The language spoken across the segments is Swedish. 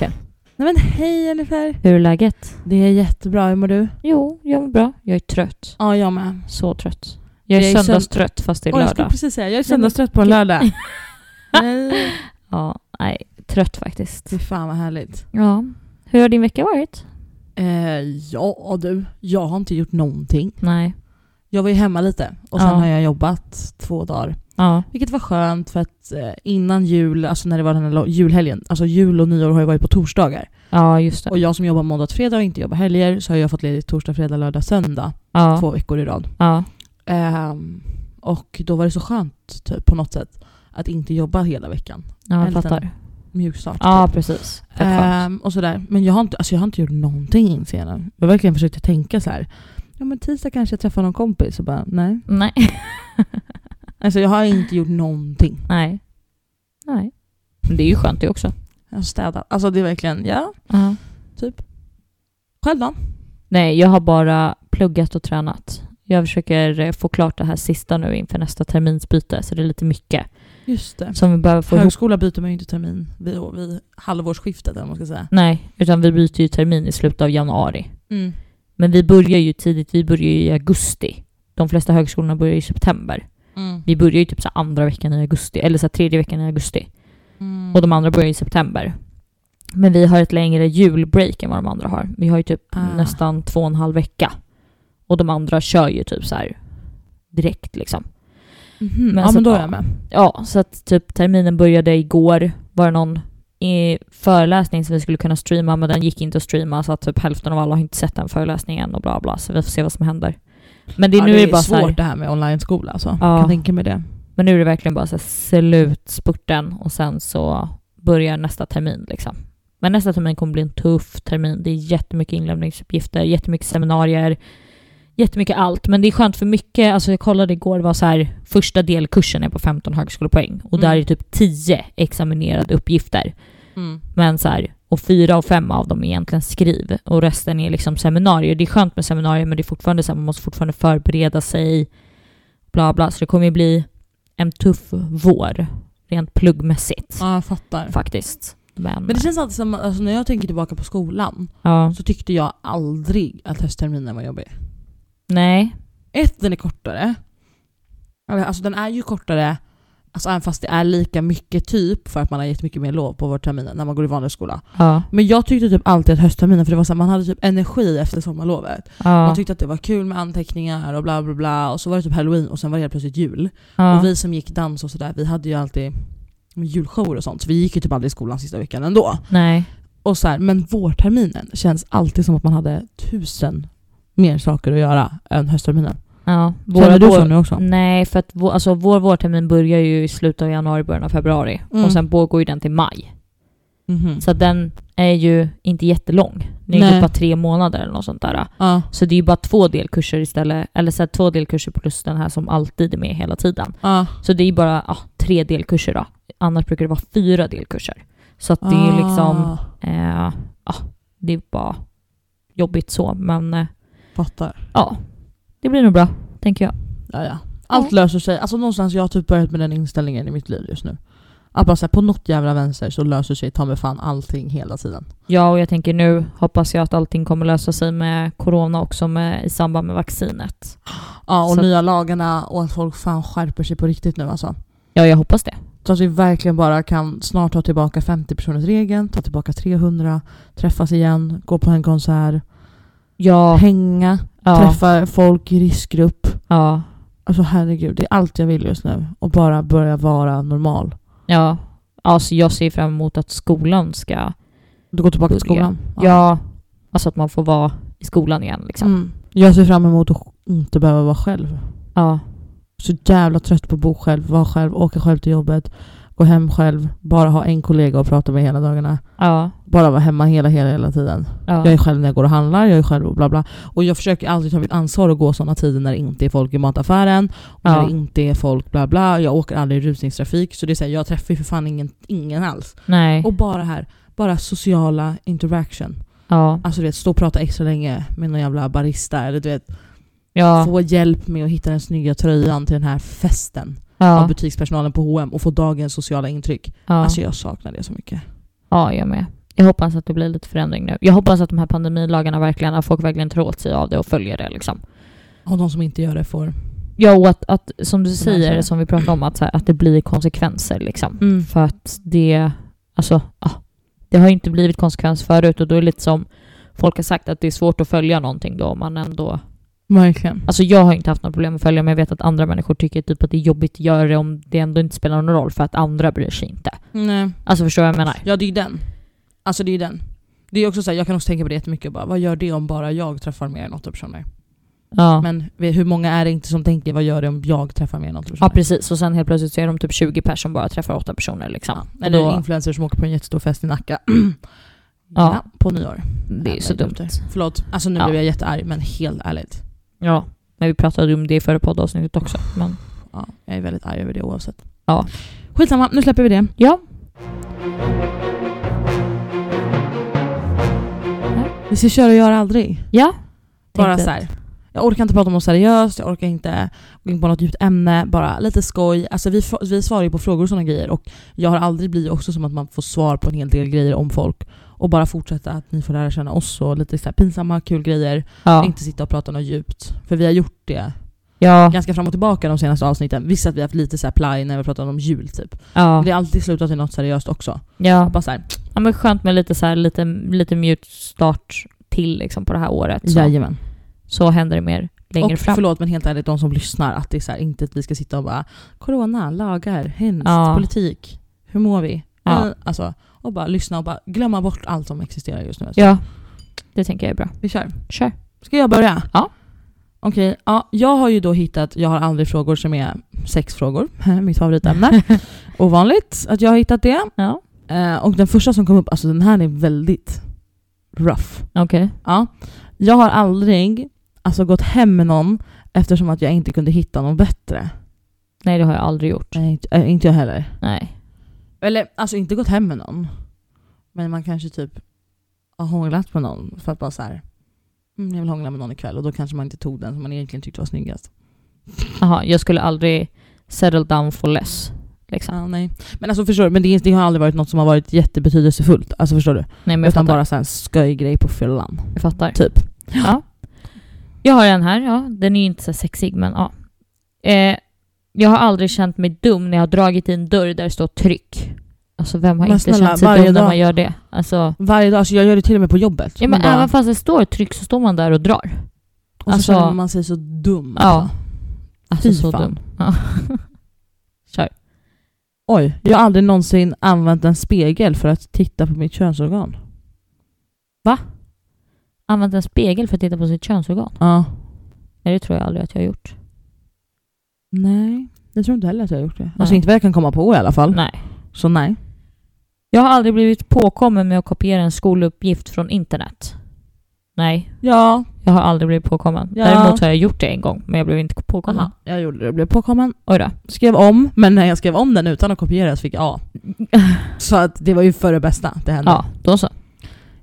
Nej men hej Jennifer! Hur är läget? Det är jättebra, hur mår du? Jo, jag mår bra. Jag är trött. Ja, jag med. Så trött. Jag är, Jag är sönd- söndagstrött fast det är Oj, jag skulle lördag. precis säga, jag är söndagstrött på en lördag. Nej, Ja, nej. Trött faktiskt. fy fan vad härligt. Ja. Hur har din vecka varit? Eh, ja du, jag har inte gjort någonting. Nej. Jag var ju hemma lite och sen Ja. har jag jobbat två dagar. Ja. Vilket var skönt för att eh, innan jul, alltså när det var den här lo- julhelgen, alltså jul och nyår har ju varit på torsdagar. Ja, just det. Och jag som jobbar måndag till fredag och inte jobbar helger så har jag fått ledigt torsdag, fredag, lördag, söndag Ja. två veckor i rad. Ja. Ehm, och då var det så skönt typ, på något sätt att inte jobba hela veckan. Ja, En jag fattar. Mjukstart. typ. Ja, precis. Fett skönt. Ehm, och sådär. Men jag har, inte, alltså jag har inte gjort någonting inser jag nu. Jag har verkligen försökt att tänka så här. Ja men tisdag kanske jag träffar någon kompis och bara nej. Nej. Alltså jag har inte gjort någonting. Nej. Nej. Men det är ju skönt det också. Jag har städat. Alltså det är verkligen, ja. typ. Ja. Själv då? Nej, jag har bara pluggat och tränat. Jag försöker eh, få klart det här sista nu inför nästa terminsbyte, så det är lite mycket Just det. som vi behöver få ihop. Högskola byter man ju inte termin vid, vid halvårsskiftet eller vad man ska säga. Nej, utan vi byter ju termin i slutet av januari. Mm. Men vi börjar ju tidigt, vi börjar ju i augusti. De flesta högskolorna börjar i september. Mm. Vi börjar ju typ så här andra veckan i augusti, eller så här tredje veckan i augusti. Mm. Och de andra börjar i september. Men vi har ett längre julbreak än vad de andra har. Vi har ju typ Ah. nästan två och en halv vecka. Och de andra kör ju typ så här direkt liksom. Mhm. Men ja så men att, då är ja. jag med. Ja, så att typ terminen började igår. Var det någon eh, föreläsning som vi skulle kunna streama men den gick inte att streama så att typ hälften av alla har inte sett den föreläsningen och bla bla så vi får se vad som händer. Men det, ja, nu det är det bara så svårt här, det här med online-skola alltså. Ja. Ja. Kan tänka mig det. men nu är det verkligen bara så här slutspurten och sen så börjar nästa termin liksom. Men nästa termin kommer bli en tuff termin. Det är jättemycket inlämningsuppgifter, jättemycket seminarier, jättemycket allt. Men det är skönt för mycket, alltså jag kollade igår, det var så här, första delkursen är på 15 högskolepoäng och där Mm. är typ 10 examinerade uppgifter. Mm. Men så här, och fyra och fem av dem är egentligen skriv och resten är liksom seminarier. Det är skönt med seminarier men det är fortfarande så här, man måste fortfarande förbereda sig. Bla bla. Så det kommer ju bli en tuff vår rent pluggmässigt Ja jag fattar. faktiskt. Men, Men det känns alltid som, alltså när jag tänker tillbaka på skolan ja, så tyckte jag aldrig att höstterminen var jobbig. nej. Ett, den är kortare. Eller, Alltså den är ju kortare, alltså även fast det är lika mycket typ för att man har jättemycket mer lov på vårterminen när man går i vanlig skola. Ja, Men jag tyckte typ alltid att höstterminen, för det var så här, man hade typ energi efter sommarlovet. Man ja, tyckte att det var kul med anteckningar och bla bla bla och så var det typ halloween och sen var det helt plötsligt jul. ja. Och vi som gick dans och sådär, vi hade ju alltid julshower och sånt så vi gick ju typ aldrig i skolan sista veckan ändå. nej. Och så här, men vårterminen känns alltid som att man hade tusen mer saker att göra än höstterminen. Ja. Känner du vår- Mm. så nu också? Nej, för att vår, alltså, vår vårtermin börjar ju i slutet av januari, början av februari. Mm. Och sen pågår ju den till maj. Mhm. Så att den är ju inte jättelång. Det är Nej. ju typ bara tre månader eller något sånt där. Ja. Så det är ju bara två delkurser istället, eller så här, två delkurser plus den här som alltid är med hela tiden. Ja. Så det är ju bara ja, tre delkurser då. Annars brukar det vara fyra delkurser. Så att det är Ah. ju liksom, eh, ja, det är bara jobbigt så. Men eh, Fattar. ja, det blir nog bra, tänker jag. Ja, ja. Allt löser sig. Alltså någonstans, jag har typ börjat med den inställningen i mitt liv just nu. Att bara så här, på något jävla vänster så löser sig ta mig fan allting hela tiden. Ja, och jag tänker nu hoppas jag att allting kommer lösa sig med corona också med, i samband med vaccinet. Ja, och Så- nya lagarna och att folk fan skärper sig på riktigt nu alltså. Ja, jag hoppas det. Så att vi verkligen bara kan snart ta tillbaka 50-personersregeln, ta tillbaka 300, träffas igen, gå på en konsert, Ja, hänga, ja, träffa folk i riskgrupp. ja, Alltså herregud, det är allt jag vill just nu. Och bara börja vara normal. ja. Alltså jag ser fram emot att skolan ska Du går tillbaka till Börja. skolan. Ja, alltså att man får vara i skolan igen liksom. Mm. Jag ser fram emot att inte behöva vara själv. Ja, Så jävla trött på att bo själv, vara själv, åka själv till jobbet, gå hem själv, bara ha en kollega att prata med hela dagarna. ja, Bara vara hemma hela, hela, hela tiden. ja. Jag är själv när jag går och handlar, jag är själv och bla bla. Och jag försöker alltid ta mitt ansvar och gå sådana tider när det inte är folk i mataffären, och när Ja. det inte är folk bla bla. Jag åker aldrig i rusningstrafik, så det är så här, jag träffar ju för fan ingen, ingen alls. Nej, Och bara här, bara sociala interaction. ja, Alltså du vet, stå och prata extra länge med någon jävla barista eller du vet, ja, få hjälp med att hitta den snygga tröjan till den här festen av ja, butikspersonalen på H&M och få dagens sociala intryck. ja, Alltså jag saknar det så mycket. ja, jag med. Jag hoppas att det blir lite förändring nu. Jag hoppas att de här pandemilagarna verkligen, att folk verkligen tar åt sig av det och följer det liksom. Och de som inte gör det får... Ja, och att, att som du Så här, så här. säger, som vi pratade om, att, så här, att det blir konsekvenser liksom. Mm. För att det, alltså, ja, det har ju inte blivit konsekvens förut och då är det lite som folk har sagt att det är svårt att följa någonting då om man ändå... Verkligen. Alltså jag har inte haft något problem att följa men jag vet att andra människor tycker typ att det är jobbigt att göra det om det ändå inte spelar någon roll för att andra bryr sig inte. Nej. Alltså förstår du vad jag menar? Ja det är ju den. Alltså det är ju den. Det är också så här, jag kan också tänka på det jättemycket. Bara, vad gör det om bara jag träffar mer än åtta personer? Ja. Men vi- hur många är det inte som tänker vad gör det om jag träffar mer än åtta personer? ja precis och sen helt plötsligt så är de typ 20 personer som bara träffar åtta personer liksom. Ja, och Eller då, influencers som åker på en jättestor fest i Nacka. Ja. På nyår. det är ju så Nej, dumt. Förlåt, alltså nu Ja. blev jag jättearg men helt ärligt. Ja, men vi pratade om det i förra poddavsnittet också. Men Ja, jag är väldigt arg över det oavsett. Ja. Skitsamma, nu släpper vi det. ja, Vi ska köra och göra aldrig. ja. Bara Tänkte- så här. Jag orkar inte prata om något seriöst, jag orkar inte gå in på något djupt ämne, bara lite skoj. Alltså vi, får- vi svarar ju på frågor och sådana grejer och jag har aldrig blivit också som att man får svar på en hel del grejer om folk och bara fortsätta att ni får lära känna oss och lite så här pinsamma, kul grejer. Ja, Inte sitta och prata något djupt. För vi har gjort det ja, ja. ganska fram och tillbaka de senaste avsnitten. Visst att vi har haft lite så här plaj när vi pratat om jul typ. ja. Det har alltid slutat i något seriöst också. ja. Bara såhär, Ja men skönt med lite så här, lite, lite mjuk start till liksom på det här året. Så, jajamän. så händer det mer längre Och fram. förlåt men helt ärligt de som lyssnar att det är så här, inte att vi ska sitta och bara Corona, lagar, hemskt, Ja. politik, hur mår vi? Ja. Eh, Alltså, och bara lyssna och bara glömma bort allt som existerar just nu. Ja, det tänker jag är bra. Vi kör. Kör. Ska jag börja? Ja. Okej, ja, jag har ju då hittat Jag har aldrig frågor som är sexfrågor, mitt favoritämne. Ovanligt att jag har hittat det. Ja, Eh, Och den första som kom upp, alltså den här är väldigt rough. okej. Ja. Jag har aldrig alltså, gått hem med någon eftersom att jag inte kunde hitta någon bättre. Nej, det har jag aldrig gjort. Nej, inte, äh, inte jag heller. Nej. Eller alltså inte gått hem med någon. Men man kanske typ har hånglat med någon för att bara så här. Mm, jag vill hångla med någon ikväll och då kanske man inte tog den som man egentligen tyckte var snyggast. Jaha, jag skulle aldrig settle down for less. Liksom. Ja, nej. Men alltså förstår du, men det, det har aldrig varit något som har varit jättebetydelsefullt. Alltså förstår du? Nej, men jag Utan fattar. bara så här en sköjgrej på fyllan. Jag fattar. Typ. Ja. Jag har en här, ja. Den är ju inte så sexig, men ja. Eh, jag har aldrig känt mig dum när jag har dragit i en dörr där det står tryck. Alltså vem har Men inte snälla, känt sig varje dum när dag. man gör det? Alltså, Varje dag, alltså jag gör det till och med på jobbet. ja, Man men bara, även fast det står tryck så står man där och drar. och så alltså- känner man sig så dum. Ja. Alltså Fy så fan. dum. Ja. Oj, jag har aldrig någonsin använt en spegel för att titta på mitt könsorgan. Använt en spegel för att titta på sitt könsorgan. Ja. Nej, det tror jag aldrig att jag har gjort. Nej, jag tror inte heller att jag har gjort det. Alltså Nej. inte vad jag kan komma på i alla fall. Nej. Så nej. Jag har aldrig blivit påkommen med att kopiera en skoluppgift från internet. Nej, Ja, jag har aldrig blivit påkommen. Ja. Däremot har jag gjort det en gång, men jag blev inte påkommen. Aha. jag gjorde det. Jag blev påkommen. Oj då. Skrev om, men när jag skrev om den utan att kopiera så fick jag A. Så att det var ju för det bästa det hände. Ja, då så.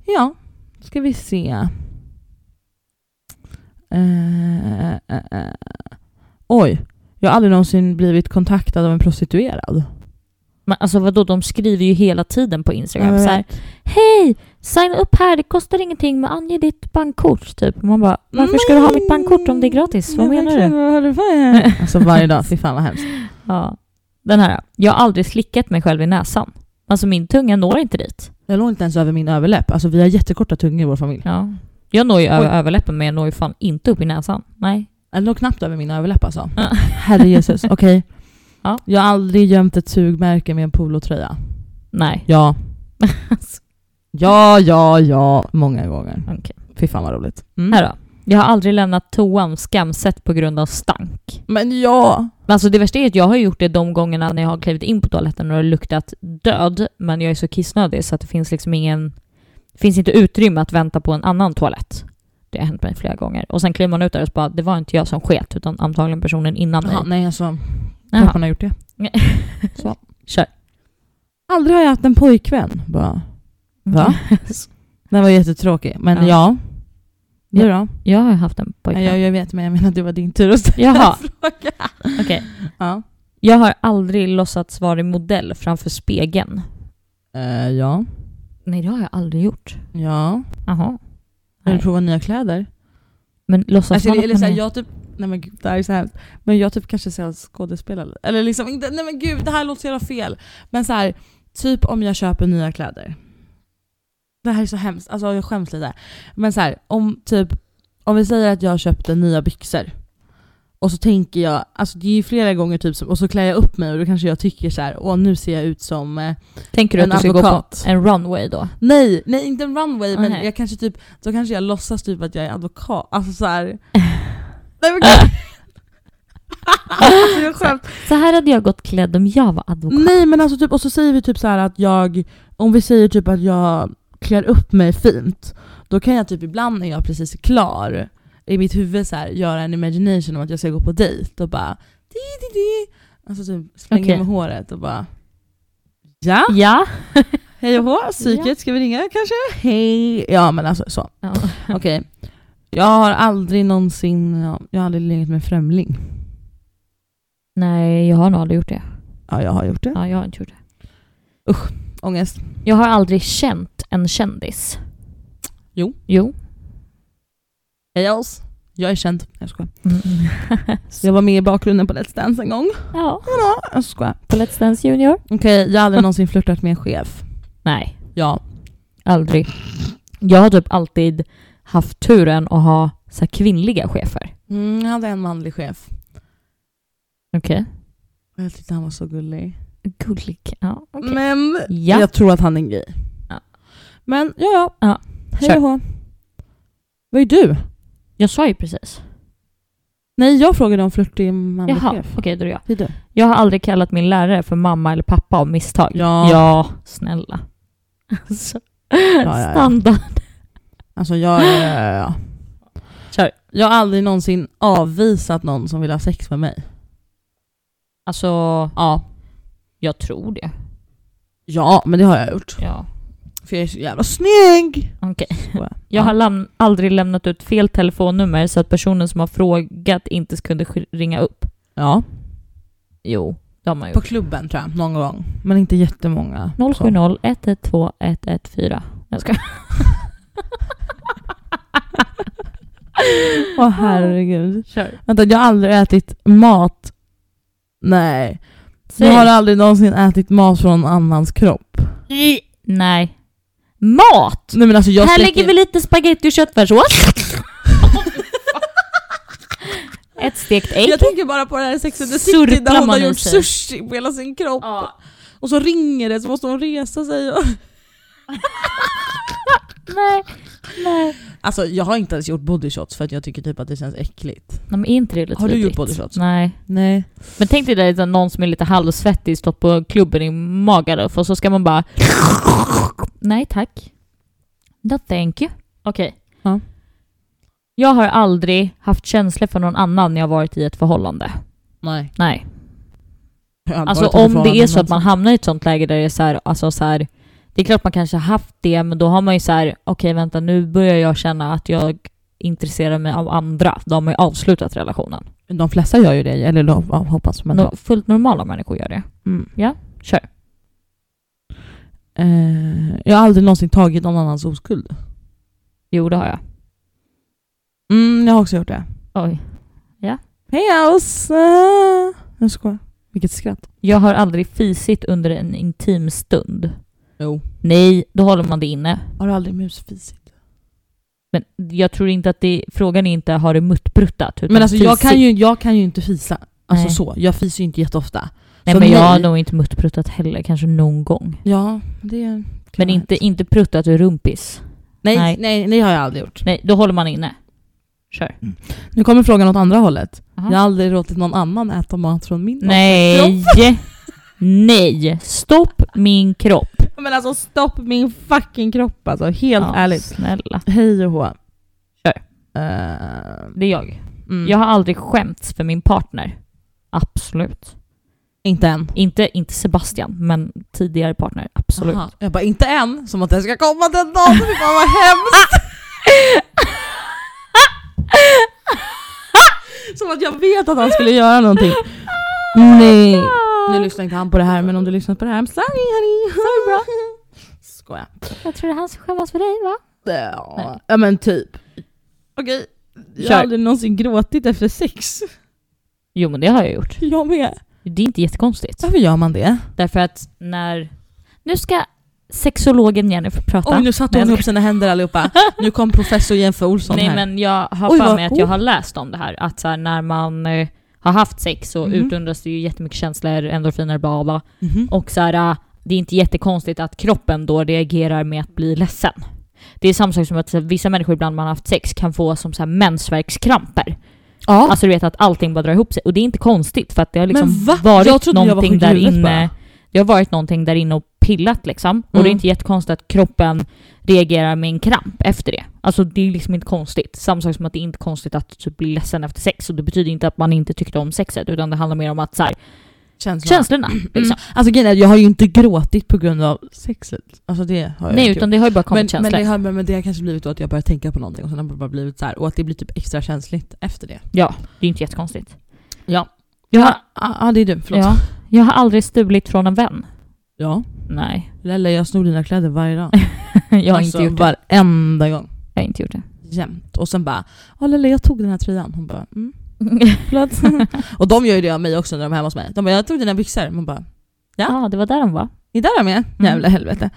ja. ska vi se. Eh, eh, eh. Oj, jag har aldrig någonsin blivit kontaktad av en prostituerad. Men alltså vadå, de skriver ju hela tiden på Instagram Jag så här, Hej! Signa upp här, det kostar ingenting men ange ditt bankkort. Typ. Man bara, varför ska du ha mitt bankkort om det är gratis? Vad menar du? du? Alltså varje dag, fy fan vad hemskt. Ja. Den här, jag har aldrig slickat mig själv i näsan. Alltså min tunga når inte dit. Jag låg inte ens över min överläpp. Alltså vi har jättekorta tungor i vår familj. Ja. Jag når ju över Oj. överläppen men jag når ju fan inte upp i näsan. Nej. Jag låg knappt över min överläpp alltså. Ja. Herre Jesus, okej. Ja. Jag har aldrig gömt ett sugmärke med en polotröja. Nej. Ja. ja, ja, ja. Många gånger. Okej. Fy fan vad roligt. Mm. Här då. Jag har aldrig lämnat toan skamset på grund av stank. Men ja. Men alltså det värsta är att jag har gjort det de gångerna när jag har klivit in på toaletten och det har luktat död men jag är så kissnödig så att det finns liksom ingen... Det finns inte utrymme att vänta på en annan toalett. Det har hänt mig flera gånger. Och sen kliver man ut där och så bara det var inte jag som sket utan antagligen personen innan mig. Jaha, nej alltså. Jaha. Klart man har gjort det. Nej. Så. Kör. Aldrig har jag haft en pojkvän. Bara. Va? Den var jättetråkig. Men ja. Ja. Du då? Jag har haft en pojkvän. Nej, jag, jag vet men jag menar att det var din tur att ställa Jaha, frågan. okej. Ja. Jag har aldrig låtsats vara modell framför spegeln. Eh, ja. Nej, det har jag aldrig gjort. Ja. Jaha. Vill du Nej. prova nya kläder? Men låtsas Alltså, man eller, att eller man såhär, är- jag typ, nej men gud det här är så hemskt. Men jag typ kanske ser skådespelare. Eller liksom, inte, nej men gud det här låter så jävla fel. Men så här, typ om jag köper nya kläder. Det här är så hemskt, alltså jag skäms lite. Men så här, om typ, om vi säger att jag köpte nya byxor. Och så tänker jag, alltså det är ju flera gånger typ, som- och så klär jag upp mig och då kanske jag tycker så här, åh nu ser jag ut som eh, Tänker du en att du ska advokat. gå på en runway då? Nej, nej inte en runway men Nej. jag kanske typ, då kanske jag låtsas typ att jag är advokat. Alltså såhär... Nej men gud! alltså, jag skämt. Så här hade jag gått klädd om jag var advokat. Nej men alltså typ, och så säger vi typ så här att jag, om vi säger typ att jag klär upp mig fint, då kan jag typ ibland när jag precis är klar i mitt huvud så här, göra en imagination om att jag ska gå på dejt och bara di, di, di. Alltså typ slänga Okej. med håret och bara Ja, Ja. hej och hå, psyket, ska vi ringa kanske? Hej! Ja men alltså så. ja. Okej. Jag har aldrig någonsin, ja, jag har aldrig legat med en främling. Nej, jag har nog aldrig gjort det. Ja, jag har gjort det. Ja, jag har inte gjort det. Ångest. Jag har aldrig känt en kändis. Jo. Jo. Hej oss. Jag är känd. Jag skojar. Mm. Jag var med i bakgrunden på Let's Dance en gång. ja. Ja, jag skojar. På Let's Dance Junior? Okej, jag har aldrig någonsin flörtat med en chef. Nej, Ja. aldrig. Jag har typ alltid haft turen att ha så här kvinnliga chefer. Mm, jag hade en manlig chef. Okej. Och Jag tyckte han var så gullig. Gullig. Ja, okej. Men Ja. jag tror att han är en gay. Ja. Men ja, ja. Ja. Hej Kör. och hå. Vad är du? Jag sa ju precis. Nej, jag frågade om flörtig manlig Jaha, chef. okej då är det jag. Det är du. Jag har aldrig kallat min lärare för mamma eller pappa av misstag. Ja. ja snälla. Alltså, ja, ja. standard. Alltså jag... Ja, ja, ja. Kör. Jag har aldrig någonsin avvisat någon som vill ha sex med mig. Alltså, Ja. jag tror det. Ja, men det har jag gjort. Ja. För jag är så jävla snygg! Okej. Skoja. Jag Ja. har läm- aldrig lämnat ut fel telefonnummer så att personen som har frågat inte kunde sk- ringa upp. Ja. Jo, det har man På gjort. klubben tror jag, någon gång. Men inte jättemånga. 070 112 114. Jag ska. Åh herregud. Kör. Vänta, jag har aldrig ätit mat... Nej. Säg. Jag har aldrig någonsin ätit mat från annans kropp. Nej. Mat! Nej men alltså jag Här steker- lägger vi lite spaghetti och köttfärssås. Ett stekt ägg. Jag tänker bara på det här Sex and the City Surplar där hon har man i gjort sig. sushi på hela sin kropp. Ja. Och så ringer det så måste hon resa sig och... Nej. Nej. Alltså jag har inte ens gjort bodyshots för att jag tycker typ att det känns äckligt. Men är inte det lite Har du gjort vidrigt? bodyshots? Nej. Nej. Men tänk dig där, någon som är lite halvsvettig, stått på klubben i Magaluf och så ska man bara... Nej tack. No thank you. Okej. Ja. Jag har aldrig haft känslor för någon annan när jag varit i ett förhållande. Nej. Nej. Alltså om det är så att man hamnar i ett sånt läge där det är så här, alltså så här, det är klart man kanske har haft det men då har man ju så här, okej vänta nu börjar jag känna att jag intresserar mig av andra. Då har man ju avslutat relationen. De flesta gör ju det, eller de ja, hoppas man No, fullt normala människor gör det. mm. Ja, kör. eh, Jag har aldrig någonsin tagit någon annans oskuld. Jo det har jag. Mm, jag har också gjort det. Oj. Hej oss! Jag skojar. Vilket skratt. Jag har aldrig fisit under en intim stund. Jo. Nej, då håller man det inne. Har du aldrig musfisit? Men jag tror inte att det, frågan är inte har det muttbruttat. utan Men alltså jag fisit. kan, ju, jag kan ju inte fisa. Alltså Nej. så. Jag fiser ju inte jätteofta. Nej så men jag har nej. nog inte muttpruttat heller, kanske någon gång. Ja, det kan Men jag- inte, inte pruttat ur rumpis. Nej, nej. nej. nej, det har jag aldrig gjort. Nej, då håller man inne. Kör. Nu kommer frågan åt andra hållet. Aha. Jag har aldrig låtit någon annan äta mat från min Nej! Nej! Stopp min kropp. Men alltså stopp min fucking kropp alltså, helt Ja, ärligt. Snälla. Hej och hå. Kör. Eh, Det är jag. mm. Jag har aldrig skämts för min partner. Absolut. Inte än. Inte, inte Sebastian, men tidigare partner. Absolut. Aha. Jag bara, inte än. Som att det ska komma den dagen. Fy fan vad hemskt. Som att jag vet att han skulle göra någonting. Ah, Nej. Nu lyssnar inte han på det här men om du lyssnar på det här, I'm sorry honey. Sorry bra. Skoja. Jag tror det är han som skämmas för dig va? Ja, ja men typ. Okej, jag Kör. har aldrig någonsin gråtit efter sex. Jo men det har jag gjort. Jag med. Det är inte jättekonstigt. Varför gör man det? Därför att när... Nu ska sexologen Jennifer prata. Oj nu satte Nej, hon jag ihop sina händer allihopa. Nu kom professor Jennifer Olsson Nej här. men jag har Oj, för vad mig att jag coolt. har läst om det här. Att så här, när man eh, har haft sex så Mhm. utlöses det ju jättemycket känslor, endorfiner, bla bla. Mhm. Och så här, äh, det är inte jättekonstigt att kroppen då reagerar med att bli ledsen. Det är samma sak som att så här, vissa människor ibland man har haft sex kan få som så här mensvärkskramper. ja. Alltså du vet att allting bara drar ihop sig. Och det är inte konstigt för att det har liksom Men va? Jag varit trodde jag var någonting sjuk i där huvudet inne. bara. Det har varit någonting där inne och pillat liksom. Och det Mm. är inte jättekonstigt att kroppen reagerar med en kramp efter det. Alltså det är liksom inte konstigt. Samma sak som att det är inte är konstigt att typ bli ledsen efter sex. Och det betyder inte att man inte tyckte om sexet utan det handlar mer om att så Alltså, här, Känslorna. känslorna. Liksom. Alltså grejen är, jag har ju inte gråtit på grund av sexet. Alltså det har jag Nej inte utan det har ju bara kommit men, känslor. men, det har, men, men det har kanske blivit då att jag börjar tänka på någonting och sen har det bara blivit så här och att det blir typ extra känsligt efter det. Ja, det är inte jättekonstigt. Ja. Jag har, Ja, ah, ah, det är du. Förlåt. ja, jag har aldrig stulit från en vän. Ja. Nej, Lelle, jag snor dina kläder varje dag. jag har Alltså, inte gjort det. Varenda gång. Jag har inte gjort det. Jämt. Och sen bara, ja Lelle jag tog den här tröjan. Hon bara, mm, förlåt. och de gör ju det av mig också när de är hemma hos mig. De bara, jag tog dina byxor. Man bara, Ja. Ja, ah, det var där de var. är där de Mm. är? Jävla helvete.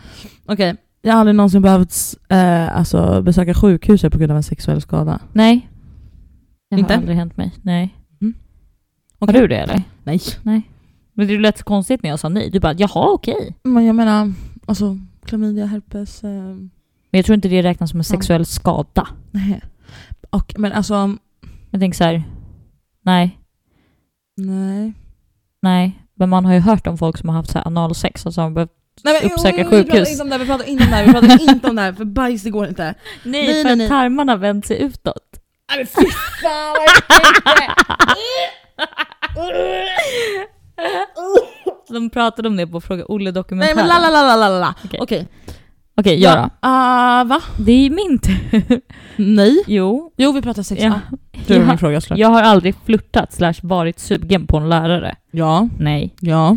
Okej, jag har aldrig någonsin behövt eh, alltså, besöka sjukhuset på grund av en sexuell skada. Nej. Det Inte? har aldrig hänt mig. Nej. Mm. Har du det eller? Nej. Men det lät så konstigt när jag sa nej. Du bara jaha okej. Men jag menar, alltså klamydia, herpes. Eh, Men jag tror inte det räknas som en sexuell skada. nej. Och, men alltså, Jag tänker så här. Nej, nej. nej. Men man har ju hört om folk som har haft så här analsex och så har de behövt... nej men, Uppsöka jo, jo, Vi pratar sjukhus. inte om det här, vi pratar inte om det här, vi pratar inte om det här för bajs det går inte. Nej, för för att att tarmarna vänt sig utåt. Nej men fy fan vad De pratade om det på Fråga Nej Olle-dokumentären. men la la la la la la. Okej. Okej. Okej, jag då. Ah, va? Det är min tur. Nej. Jo. Jo vi pratar sex. Ja. Du har min Jag, fråga såklart. jag har aldrig flörtat slash varit sugen på en lärare. Ja. Nej. Ja.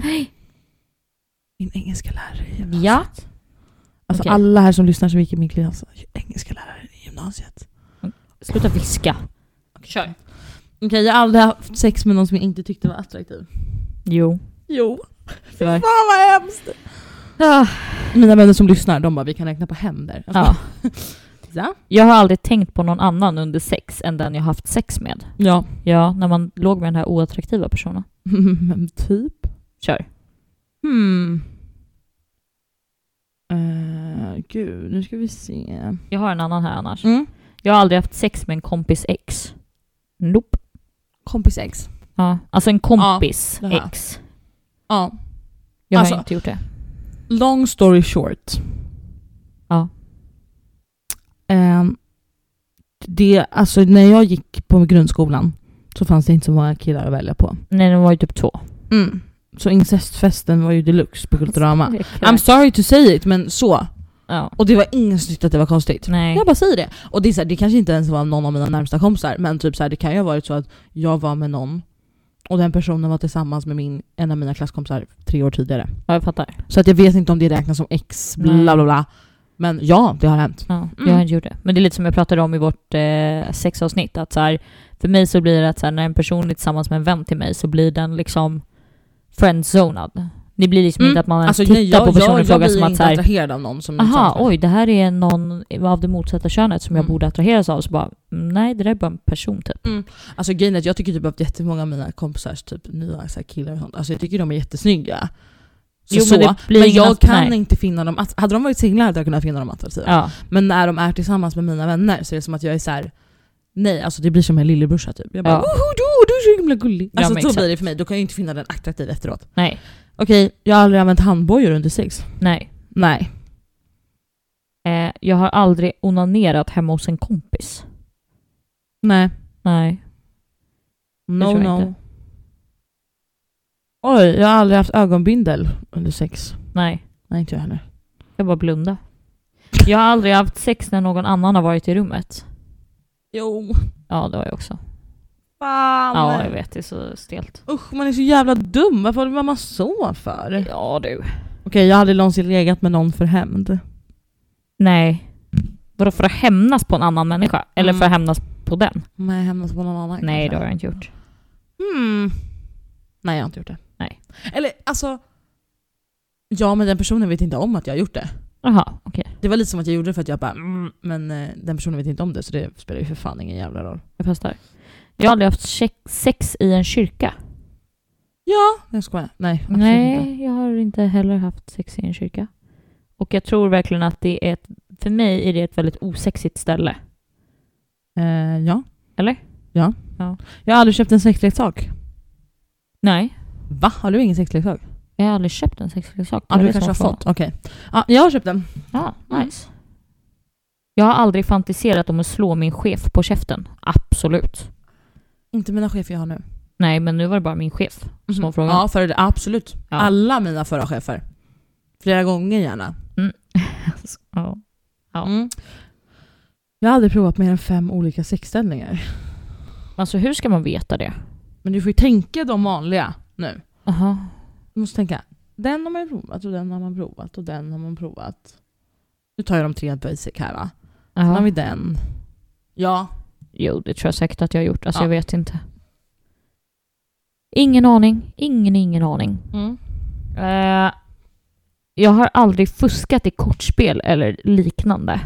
Min engelska lärare i gymnasiet. Ja. Alltså Okej. alla här som lyssnar som gick i min klass, alltså, engelska lärare i gymnasiet. Sluta viska. Kör. Okej jag har aldrig haft sex med någon som jag inte tyckte var attraktiv. Jo. Jo. Tyvärr. Fan vad hemskt! Ah, Mina vänner som lyssnar, de bara vi kan räkna på händer. Jag Ja. bara, ja. Jag har aldrig tänkt på någon annan under sex än den jag haft sex med. ja. Ja, när man låg med den här oattraktiva personen. Men typ. Kör. Hmm. Eh, gud, nu ska vi se. Jag har en annan här annars. Mm. Jag har aldrig haft sex med en kompis ex. Nope. Kompis ex. Ja. Alltså en kompis det har jag. ex. Ja. Jag har Alltså- inte gjort det. Long story short. Ja. Ehm, det, alltså när jag gick på grundskolan så fanns det inte så många killar att välja på. Nej, den var ju typ två. Mm. Så incestfesten var ju deluxe på Kulturama. Alltså, I'm I'm... sorry to say it men så. Ja. Och det var ingen som tyckte att det var konstigt. Nej. Jag bara säger det. Och det, är så här, det kanske inte ens var någon av mina närmsta kompisar, men typ så här, det kan ju ha varit så att jag var med någon och den personen var tillsammans med min, en av mina klasskompisar tre år tidigare. Ja, jag fattar. Så att jag vet inte om det räknas som ex, Nej. bla bla bla. Men ja, det har hänt. Ja, Mm. jag har inte gjort det. Men det är lite som jag pratade om i vårt eh, sexavsnitt. Att så här, för mig så blir det att så här, när en person är tillsammans med en vän till mig så blir den liksom friendzonad. Det blir liksom Mm. inte att man ens Alltså, tittar nej, jag, på personen jag, i jag, jag fråga blir som ju att så inte här, attraherad av någon som är aha, tillsammans med- oj, det här är någon av det motsatta könet som jag Mm. borde attraheras av. Så bara, mm, nej, det där är bara en person typ. Alltså grejen är att jag tycker typ att jättemånga av mina kompisars typ nya så här killar och sånt, alltså jag tycker de är jättesnygga. Så, Jo, så. men men, det blir ingen jag att- kan nej. inte finna dem, att, hade de varit singlar hade jag kunnat finna dem attraktiva. Ja. Men när de är tillsammans med mina vänner så är det som att jag är så här. Nej, alltså det blir som en lillebrorsa typ. Jag bara Ja. woho, du, du är så himla gullig. Ja, Alltså men så exakt. blir det för mig, då kan jag ju inte finna den attraktiv efteråt. Nej, Okej, jag har aldrig använt handbojor under sex. nej. Nej. Eh, jag har aldrig onanerat hemma hos en kompis. Nej. Nej. No tror jag no. inte. Oj, jag har aldrig haft ögonbindel under sex. Nej. Nej inte jag heller. Jag bara blunda. Jag har aldrig haft sex när någon annan har varit i rummet. Jo. Ja, det har jag också. Fan. Ja, jag vet. Det är så stelt. Usch man är så jävla dum, varför var man så för? Okej Ja, du. jag har aldrig någonsin legat med någon för hämnd. Nej. Vadå för att hämnas på en annan människa? Eller Mm. för att hämnas på den? Nej, hämnas på någon annan Nej, kanske. det har jag inte gjort. Hmm. Nej, jag har inte gjort det. Nej. Eller alltså... Ja, men den personen vet inte om att jag har gjort det. Jaha, okej. Det var lite som att jag gjorde det för att jag bara mm, men eh, den personen vet inte om det så det spelar ju för fan ingen jävla roll. Jag festar. Jag har aldrig haft check- sex i en kyrka. Ja, jag skojar. Nej, absolut inte. Nej, jag har inte heller haft sex i en kyrka. Och jag tror verkligen att det är ett, för mig är det ett väldigt osexigt ställe. Eh, ja. Eller? Ja. Ja. Jag har aldrig köpt en sexleksak. Nej, Va? Har du ingen sexleksak? jag har aldrig köpt en sexleksak. Ja, Det var ah, du det som kanske har var fått? Okej. Ja, jag har köpt den. frågan. Ja, Mm. nice. Jag har aldrig fantiserat om att slå min chef på käften. Absolut. Inte mina chefer jag har nu. Nej, men nu var det bara min chef som var frågan. Mhm. Ja, för det, absolut. Ja. Alla mina förra chefer. Flera gånger gärna. Ja. Ja. Mm. Jag har aldrig provat mer än fem olika sexställningar. Alltså hur ska man veta det? Men du får ju tänka de vanliga nu. Aha. Du måste tänka, den har man ju provat och den har man provat och den har man provat. Nu tar jag de tre basic här va? Sen har vi Aha. den. Ja. Jo, det tror jag säkert att jag har gjort. Alltså Ja. jag vet inte. Ingen aning. Ingen, ingen aning. Mm. Eh, jag har aldrig fuskat i kortspel eller liknande.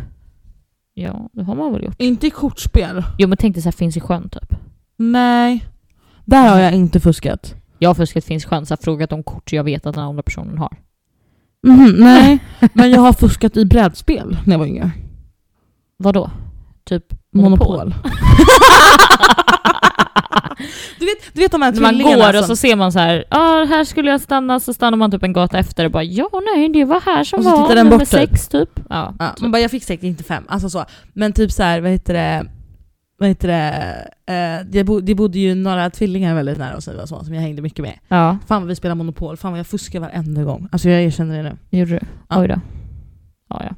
Ja, det har man väl gjort. Inte i kortspel. Jo, men tänk dig så här Finns i sjön typ. Nej. Där har jag inte fuskat. Jag har fuskat Finns i sjön, så här, frågat om kort jag vet att den andra personen har. Mhm, nej, men jag har fuskat i brädspel när jag var yngre. Vadå? Typ Monopol. monopol? Du vet, du vet de här När man tvillingarna går och så som- ser man så här, ja här skulle jag stanna, så stannar man typ en gata efter och bara ja nej det var här som Och så var tittar den nummer bort, typ. sex typ. Ja, Ja, typ. man bara, jag fick säkert inte fem. Alltså så. Men typ så här, vad heter det? Vad heter det? Eh, det, bo, det bodde ju några tvillingar väldigt nära oss när vi var små, som jag hängde mycket med. ja Fan vad vi spelar Monopol, fan vad jag fuskar varenda gång. Alltså jag erkänner det nu. gjorde du? Ja. Oj då. Ja, ja. Jag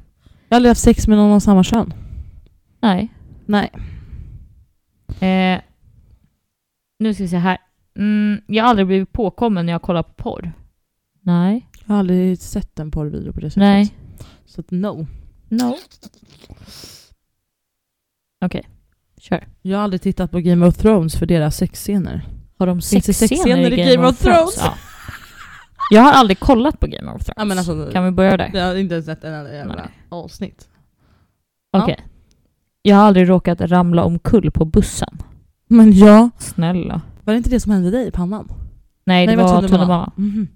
har aldrig haft sex med någon av samma kön. Nej. Nej. Eh, nu ska vi se här. Mm, jag har aldrig blivit påkommen när jag kollar på porr. Nej. Jag har aldrig sett en porrvideo på det sättet. Nej. Så att no. No. Okej, kör. Jag har aldrig tittat på Game of Thrones för deras sexscener. Har de Finns det sexscener i Game of Thrones? Ja. Jag har aldrig kollat på Game of Thrones. Ja men alltså, Kan vi börja där? jag har inte ens sett en enda jävla Nej. avsnitt. Okej. Jag har aldrig råkat ramla omkull på bussen. Men ja, Snälla. var det inte det som hände dig i pannan? Nej, det Nej, var tunnelbana. Mm. Mhm.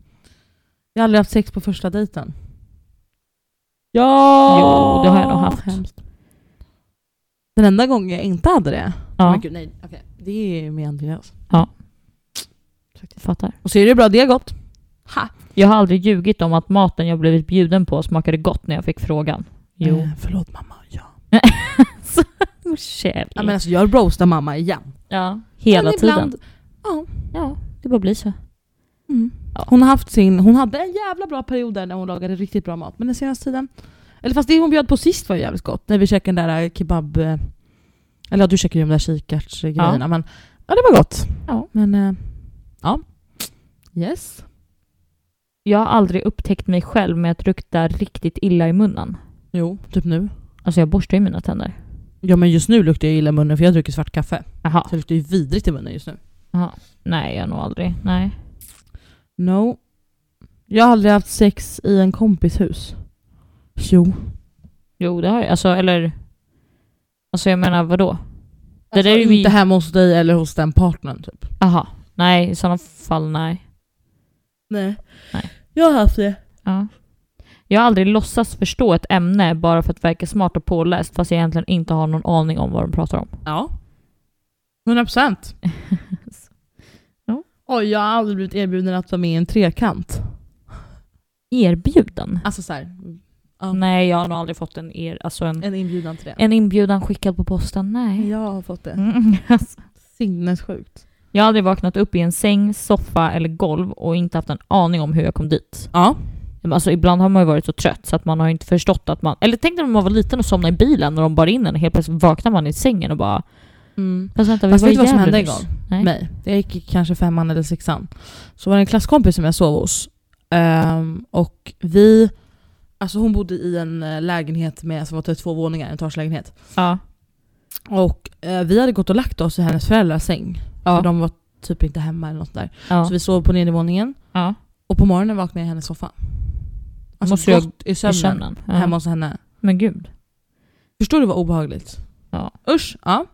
Jag har aldrig haft sex på första dejten. Ja! Jo, det har jag nog haft. Hemskt. Den enda gången jag inte hade det, Ja, men gud, nej, okej. det är ju med Andreas. Ja. Faktiskt. fattar. Och så är det bra, det är gott. Ha! Jag har aldrig ljugit om att maten jag blivit bjuden på smakade gott när jag fick frågan. Jo. Eh, förlåt mamma, ja. Kjell. Ja, men alltså, jag roastar mamma igen. Ja, hela men tiden. Ja. Ja, det bara blir så. Mm. Ja. Hon, har haft sin, hon hade en jävla bra period där när hon lagade riktigt bra mat. Men den senaste tiden... Eller fast det hon bjöd på sist var ju jävligt gott. När vi käkade den där eh, kebab... eh, Eller ja, du käkade ju de där kikärtsgrejerna. Ja. Men ja, det var gott. Ja. Men eh, ja. Yes. Jag har aldrig upptäckt mig själv med att lukta riktigt illa i munnen. Jo, typ nu. Alltså jag borstar ju mina tänder. Ja men just nu luktar jag illa i munnen för jag dricker svart kaffe. Jaha. Så jag luktar ju vidrigt i munnen just nu. Nej, jag har nog aldrig. Nej. No. Jag har aldrig haft sex i en kompis hus. Jo. Jo, det har jag. Alltså, eller... Alltså jag menar, vadå? Det där är ju Alltså, inte vi- hemma hos dig eller hos den partnern typ. Aha. Nej, i sådana fall nej. Nej. Nej. Jag har haft det. Ja. Jag har aldrig låtsats förstå ett ämne bara för att verka smart och påläst fast jag egentligen inte har någon aning om vad de pratar om. Ja. 100 procent. Ja. Oj, jag har aldrig blivit erbjuden att vara med i en trekant. Erbjuden? Alltså så här, Ja. Nej, jag har nog aldrig fått en, er, alltså en, en inbjudan till det. en inbjudan skickad på posten. Nej. Jag har fått det. Mm, alltså. Sinnessjukt. Jag har aldrig vaknat upp i en säng, soffa eller golv och inte haft en aning om hur jag kom dit. Ja. Men Alltså ibland har man ju varit så trött så att man har inte förstått att man... Eller tänk dig när man var liten och somnade i bilen och de bar in en och helt plötsligt vaknar man i sängen och bara... Mm. Fast vänta, vi Fast var vet i du vad som Gävle hände en nyss." gång? Nej. Mig. Jag gick i kanske femman eller sexan. Så var det en klasskompis som jag sov hos. Ehm, och vi Alltså hon bodde i en eh, lägenhet med, som var typ två våningar, en etagelägenhet. Ja. Och eh, vi hade gått och lagt oss i hennes föräldrars säng. För Ja. de var typ inte hemma eller något där. Ja. Så vi sov på nedervåningen ja. och på morgonen vaknade jag i hennes soffa. Måste Alltså Måste jag- gott i I sömnen. sömnen. Hemma Ja. hos henne. Men gud. Förstår du vad obehagligt? Ja. Usch, ja.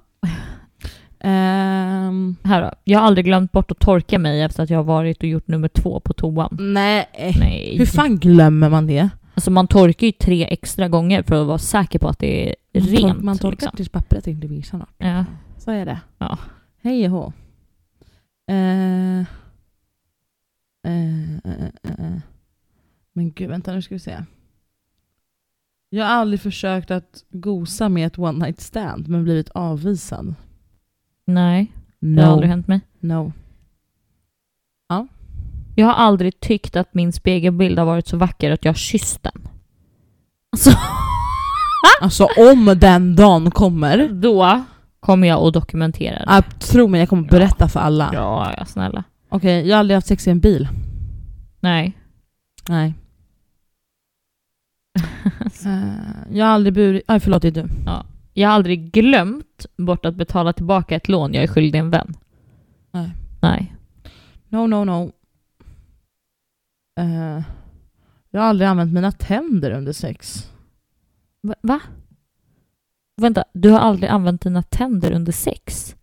Ehm, Här då. Jag har aldrig glömt bort att torka mig efter att jag har varit och gjort nummer två på toan. nej. Nej. Hur fan glömmer man det? Alltså man torkar ju tre extra gånger för att vara säker på att det är Man tor- rent. man torkar typ. liksom. tills pappret inte blir snart. ja. Så är det. Ja. Hej och hå. Eh, eh, eh, eh, eh. Men gud, vänta nu ska vi se. Jag har aldrig försökt att gosa med ett one night stand men blivit avvisad. Nej, det har aldrig No. hänt mig. no. Ja. Jag har aldrig tyckt att min spegelbild har varit så vacker att jag har kysst den. Alltså, Alltså om den dagen kommer, då kommer jag att dokumentera det. ah, tro mig jag kommer berätta för alla. Ja, ja, snälla. Okej, jag har aldrig haft sex i en bil. Nej. Nej. Eh, jag har aldrig burit... Aj, förlåt, det är du. Jag har aldrig glömt bort att betala tillbaka ett lån jag är skyldig en vän. Nej. Nej. No, no, no. Eh, jag har aldrig använt mina tänder under sex. Va- Va? Vänta, du har aldrig använt dina tänder under sex?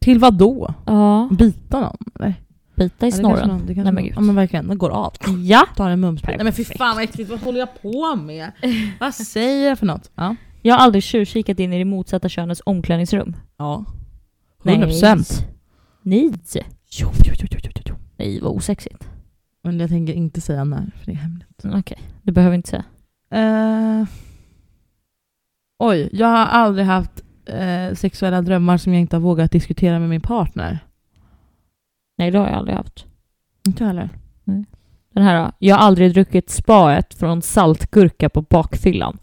Till vad då? Ja. Bita någon? eller? Bita i Ja, det kanske snorren. någon- det Nej, kanske men någon- gud. Ja men verkligen, den går av. Ja. Tar en mumspray. Perfekt. Nej men fy fan vad äckligt, vad håller jag på med? vad säger jag för något? Ja. Jag har aldrig tjuvkikat in i det motsatta könets omklädningsrum. ja. 100%. Nej. Jo, jo, jo, jo, jo, jo. Nej, vad osexigt. Men jag tänker inte säga när, för det är hemligt. Mm, Okej, du behöver inte säga. Eh, oj, jag har aldrig haft eh, sexuella drömmar som jag inte har vågat diskutera med min partner. Nej, det har jag aldrig haft. Inte heller. Den här då. Jag har aldrig druckit spaet från saltgurka på bakfyllan.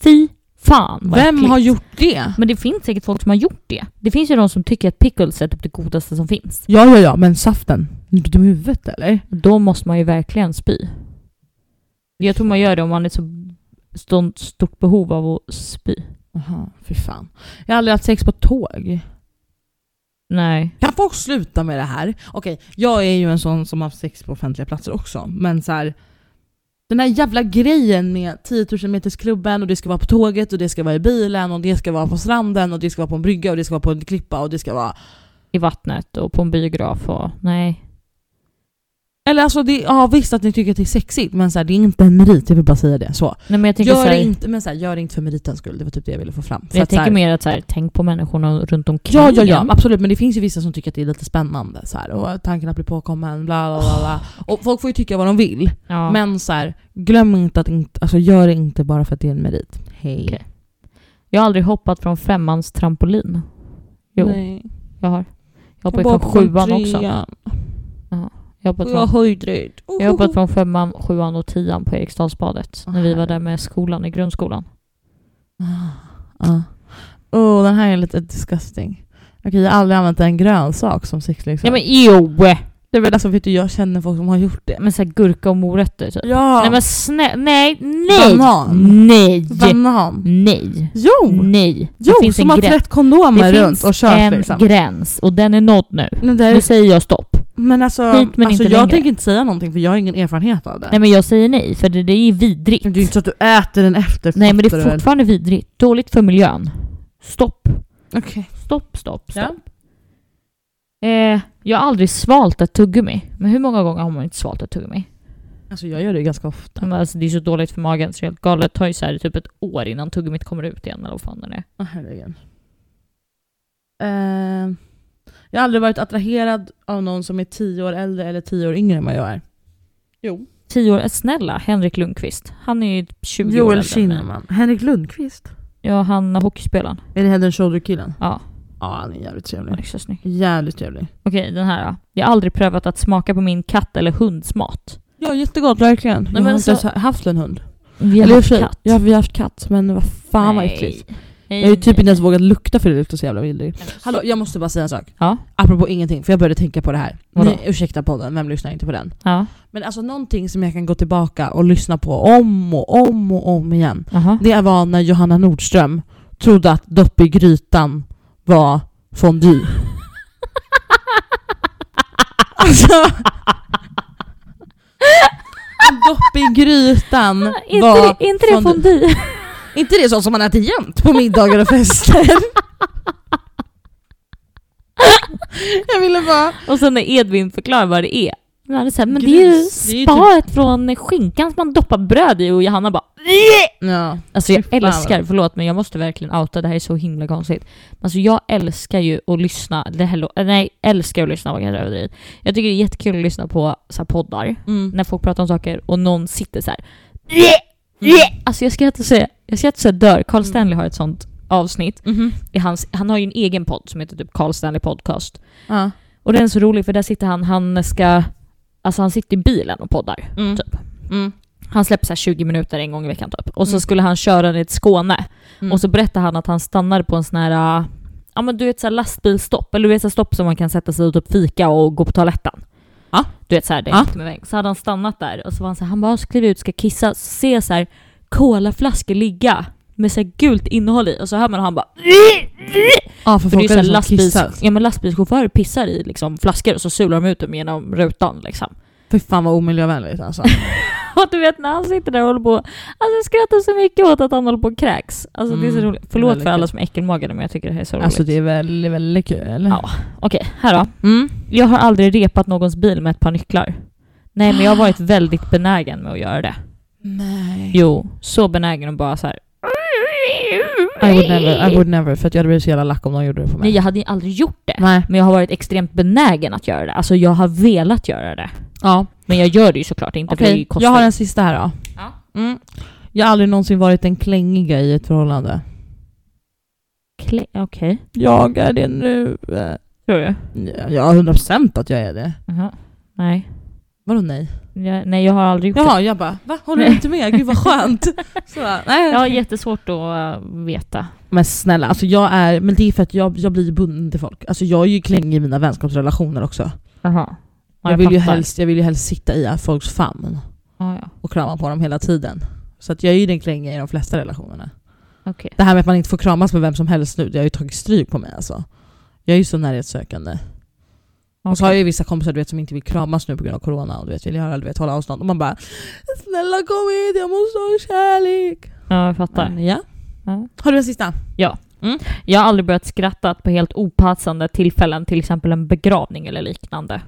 Fy fan vad Vem äckligt. har gjort det? Men det finns säkert folk som har gjort det. Det finns ju de som tycker att pickles är typ det godaste som finns. Ja, ja, ja, men saften. Är du dum i huvudet eller? Då måste man ju verkligen spy. Jag tror man gör det om man är så stå- stort behov av att spy. Jaha, fy fan. Jag har aldrig haft sex på tåg. Nej. Kan folk sluta med det här? Okej, jag är ju en sån som har haft sex på offentliga platser också, men så här. Den här jävla grejen med 10 000 metersklubben och det ska vara på tåget och det ska vara i bilen och det ska vara på stranden och det ska vara på en brygga och det ska vara på en klippa och det ska vara... I vattnet och på en biograf och nej. Eller alltså, det, ja visst att ni tycker att det är sexigt men så här, det är inte en merit, jag vill bara säga det. Så. Nej men jag tänker, så Gör, här, det inte, men så här, gör det inte för meritens skull, det var typ det jag ville få fram. För jag att så här- tänker mer att så här, tänk på människorna runt omkring Ja, ja, ja, en. absolut. Men det finns ju vissa som tycker att det är lite spännande. Så här, och tanken att bli påkommen, bla bla bla. bla. Och folk får ju tycka vad de vill. Ah. Ja. Men så här, glöm inte att inte, alltså, gör det inte bara för att det är en merit. Hej. Okej. Jag har aldrig hoppat från femmans trampolin. Jo, Nej. jag har. Jag Jag hoppade från sjuan också. Jag trean. hoppade Och jag är från, höjdrädd. Oh, jag hoppade oh, oh. från femman, sjuan och tian på Eriksdalsbadet. Åh, när vi var herregud. där med skolan i grundskolan. Ja. Oh, Ah. den här är lite disgusting. Okej, jag har aldrig använt en grönsak som sexleksak. Nej men jo! det är väl alltså, vet du, jag känner folk som har gjort det. Men såhär gurka och morötter typ. Ja! Nej men snälla, nej, nej! Banan. Nej! Banan. Nej! Jo! Nej! Mm. det Jo, finns som en har gräns. trätt kondomer Det runt finns och kört en liksom. gräns och den är nådd nu. Men, det Nu är, säger jag stopp. men alltså, hit men alltså inte jag längre. tänker inte säga någonting för jag har ingen erfarenhet av det. Nej men jag säger nej för det, det är vidrigt. Men det är ju inte så att du äter den efter. Nej men det fattar är du väl? fortfarande vidrigt. Dåligt för miljön. Stopp, Okej. stopp, stopp, stopp. Eh, jag har aldrig svalt ett tuggummi. Men hur många gånger har man inte svalt ett tuggummi? Alltså jag gör det ganska ofta. Men Alltså, det är så dåligt för magen så det är helt galet. Det tar ju så här typ ett år innan tuggummit kommer ut igen eller vad fan det är. Åh, herregud. Eh, jag har aldrig varit attraherad av någon som är tio år äldre eller tio år yngre än vad jag är. Jo. Tio år, eh, snälla Henrik Lundqvist. Han är ju 20 år Joel äldre än mig. Kinnaman. Henrik Lundqvist. Ja, han hockeyspelaren. Är det Head and Shoulder-killen? Ja, Ja, han är jävligt han är trevlig. så snygg. Jävligt trevlig. Okej, den här då. Jag har aldrig prövat att smaka på min katt eller hunds mat. Ja, jättegott verkligen. jag men har så- inte ens haft en hund. Vi alltså- Eller i och för haft sig, Ja, vi har haft katt men vad fan vad äckligt. Nej, Jag har ju typ nej, inte ens vågat lukta för det luktar så jävla vidrigt. nej. Hallå, jag måste bara säga en sak. Ja. Apropå ingenting, för jag började tänka på det här. Vadå? Ni, ursäkta podden, vem lyssnar inte på den? Ja. Men alltså någonting som jag kan gå tillbaka och lyssna på om och om och om igen. Aha. Det var när Johanna Nordström trodde att dopp i grytan var fondue. alltså... att dopp i grytan Är inte var... det, är inte det fondue. fondue? inte det sånt som man äter jämt på middagar och fester? jag ville bara... Och sen när Edvin förklarar vad det är. Men, han är så här, men det Gris, är ju typ- det är ju spaet från skinkan som man doppar bröd i och Johanna bara Ja. Alltså jag Fy fan vad- älskar, förlåt men jag måste verkligen outa, det här är så himla konstigt. Men Alltså jag älskar ju att lyssna, det här, lå- äh, nej älskar att lyssna var kanske överdrivet. Jag tycker det är jättekul att lyssna på så här, poddar, Mm. när folk pratar om saker och någon sitter så här. Alltså jag ska inte säga, jag ska inte säga dör, Carl Mm. Stanley har ett sånt avsnitt. Mhm. I hans, han har ju en egen podd som heter typ Carl Stanley Podcast. Ja. Och den är så rolig för där sitter han, han ska, alltså han sitter i bilen och poddar. Mm. Typ. Mm. Han släpper så här 20 minuter en gång i veckan typ. Och så Mm. skulle han köra ner till Skåne. Mm. Och så berättar han att han stannade på en sån här, äh, ja men du vet så här lastbilsstopp, eller du vet så här stopp som man kan sätta sig och typ fika och gå på toaletten. Ja. Du vet så här, det är Ja. mitt med vägen. Så hade han stannat där och så var han så här, han bara ska kliva ut, ska kissa, så ser jag så här colaflaskor ligga med så här gult innehåll i och så hör man han bara Ja, för för det är folk så är här det som lastbils, kissar. ja, men lastbilschaufförer pissar i liksom flaskor och så sular de ut dem genom rutan liksom. Fy fan vad omiljövänligt alltså. Och du vet när han sitter där och håller på, alltså jag skrattar så mycket åt att han håller på och kräks. Alltså det är så Mm, roligt. Förlåt väldigt för alla kul. som är äckelmagade men jag tycker det här är så roligt. Alltså det är väldigt, väldigt kul. Ja. Okej, här då. Mm. Jag har aldrig repat någons bil med ett par nycklar. Nej, men jag har varit väldigt benägen med att göra det. Nej. Jo, så benägen och bara så här. I would never, I would never för att jag hade blivit så jävla lack om de gjorde det på mig. Nej, jag hade ju aldrig gjort det. Nej. Men jag har varit extremt benägen att göra det. Alltså jag har velat göra det. Ja. Men jag gör det ju såklart inte för det Okej, kostar jag har ju. en sista här då. Ja. Mm. Jag har aldrig någonsin varit den klängiga i ett förhållande. Kle- Okej. Jag är det nu. Eh, Tror du? Ja, hundra procent att jag är det. Jaha. Nej. Vadå nej? Jag, nej, jag har aldrig gjort Jaha, jag bara va? Håller du inte med? Gud vad skönt. Så, bara, det. nej. Jag har jättesvårt att eh, veta. Men snälla, alltså jag är, men det är för att jag, jag blir bunden till folk. Alltså jag är ju klängig i mina vänskapsrelationer också. Jaha. Ja, Jag, vill ju fattar. helst, jag vill ju helst sitta i folks famn Ja, ja. och krama på dem hela tiden. Så att jag är ju den klängiga i de flesta relationerna. Okej. Det här med att man inte får kramas med vem som helst nu, det har ju tagit stryk på mig alltså. Jag är ju så närhetssökande. Och så har jag ju vissa kompisar du vet, som inte vill kramas nu på grund av corona och du vet, vill göra, du vet, hålla avstånd. Och man bara “snälla kom hit, jag måste ha kärlek”. Ja, jag fattar. Men, ja. Ja. Har du en sista? Jag har aldrig börjat skratta på helt opassande tillfällen, till exempel en begravning eller liknande.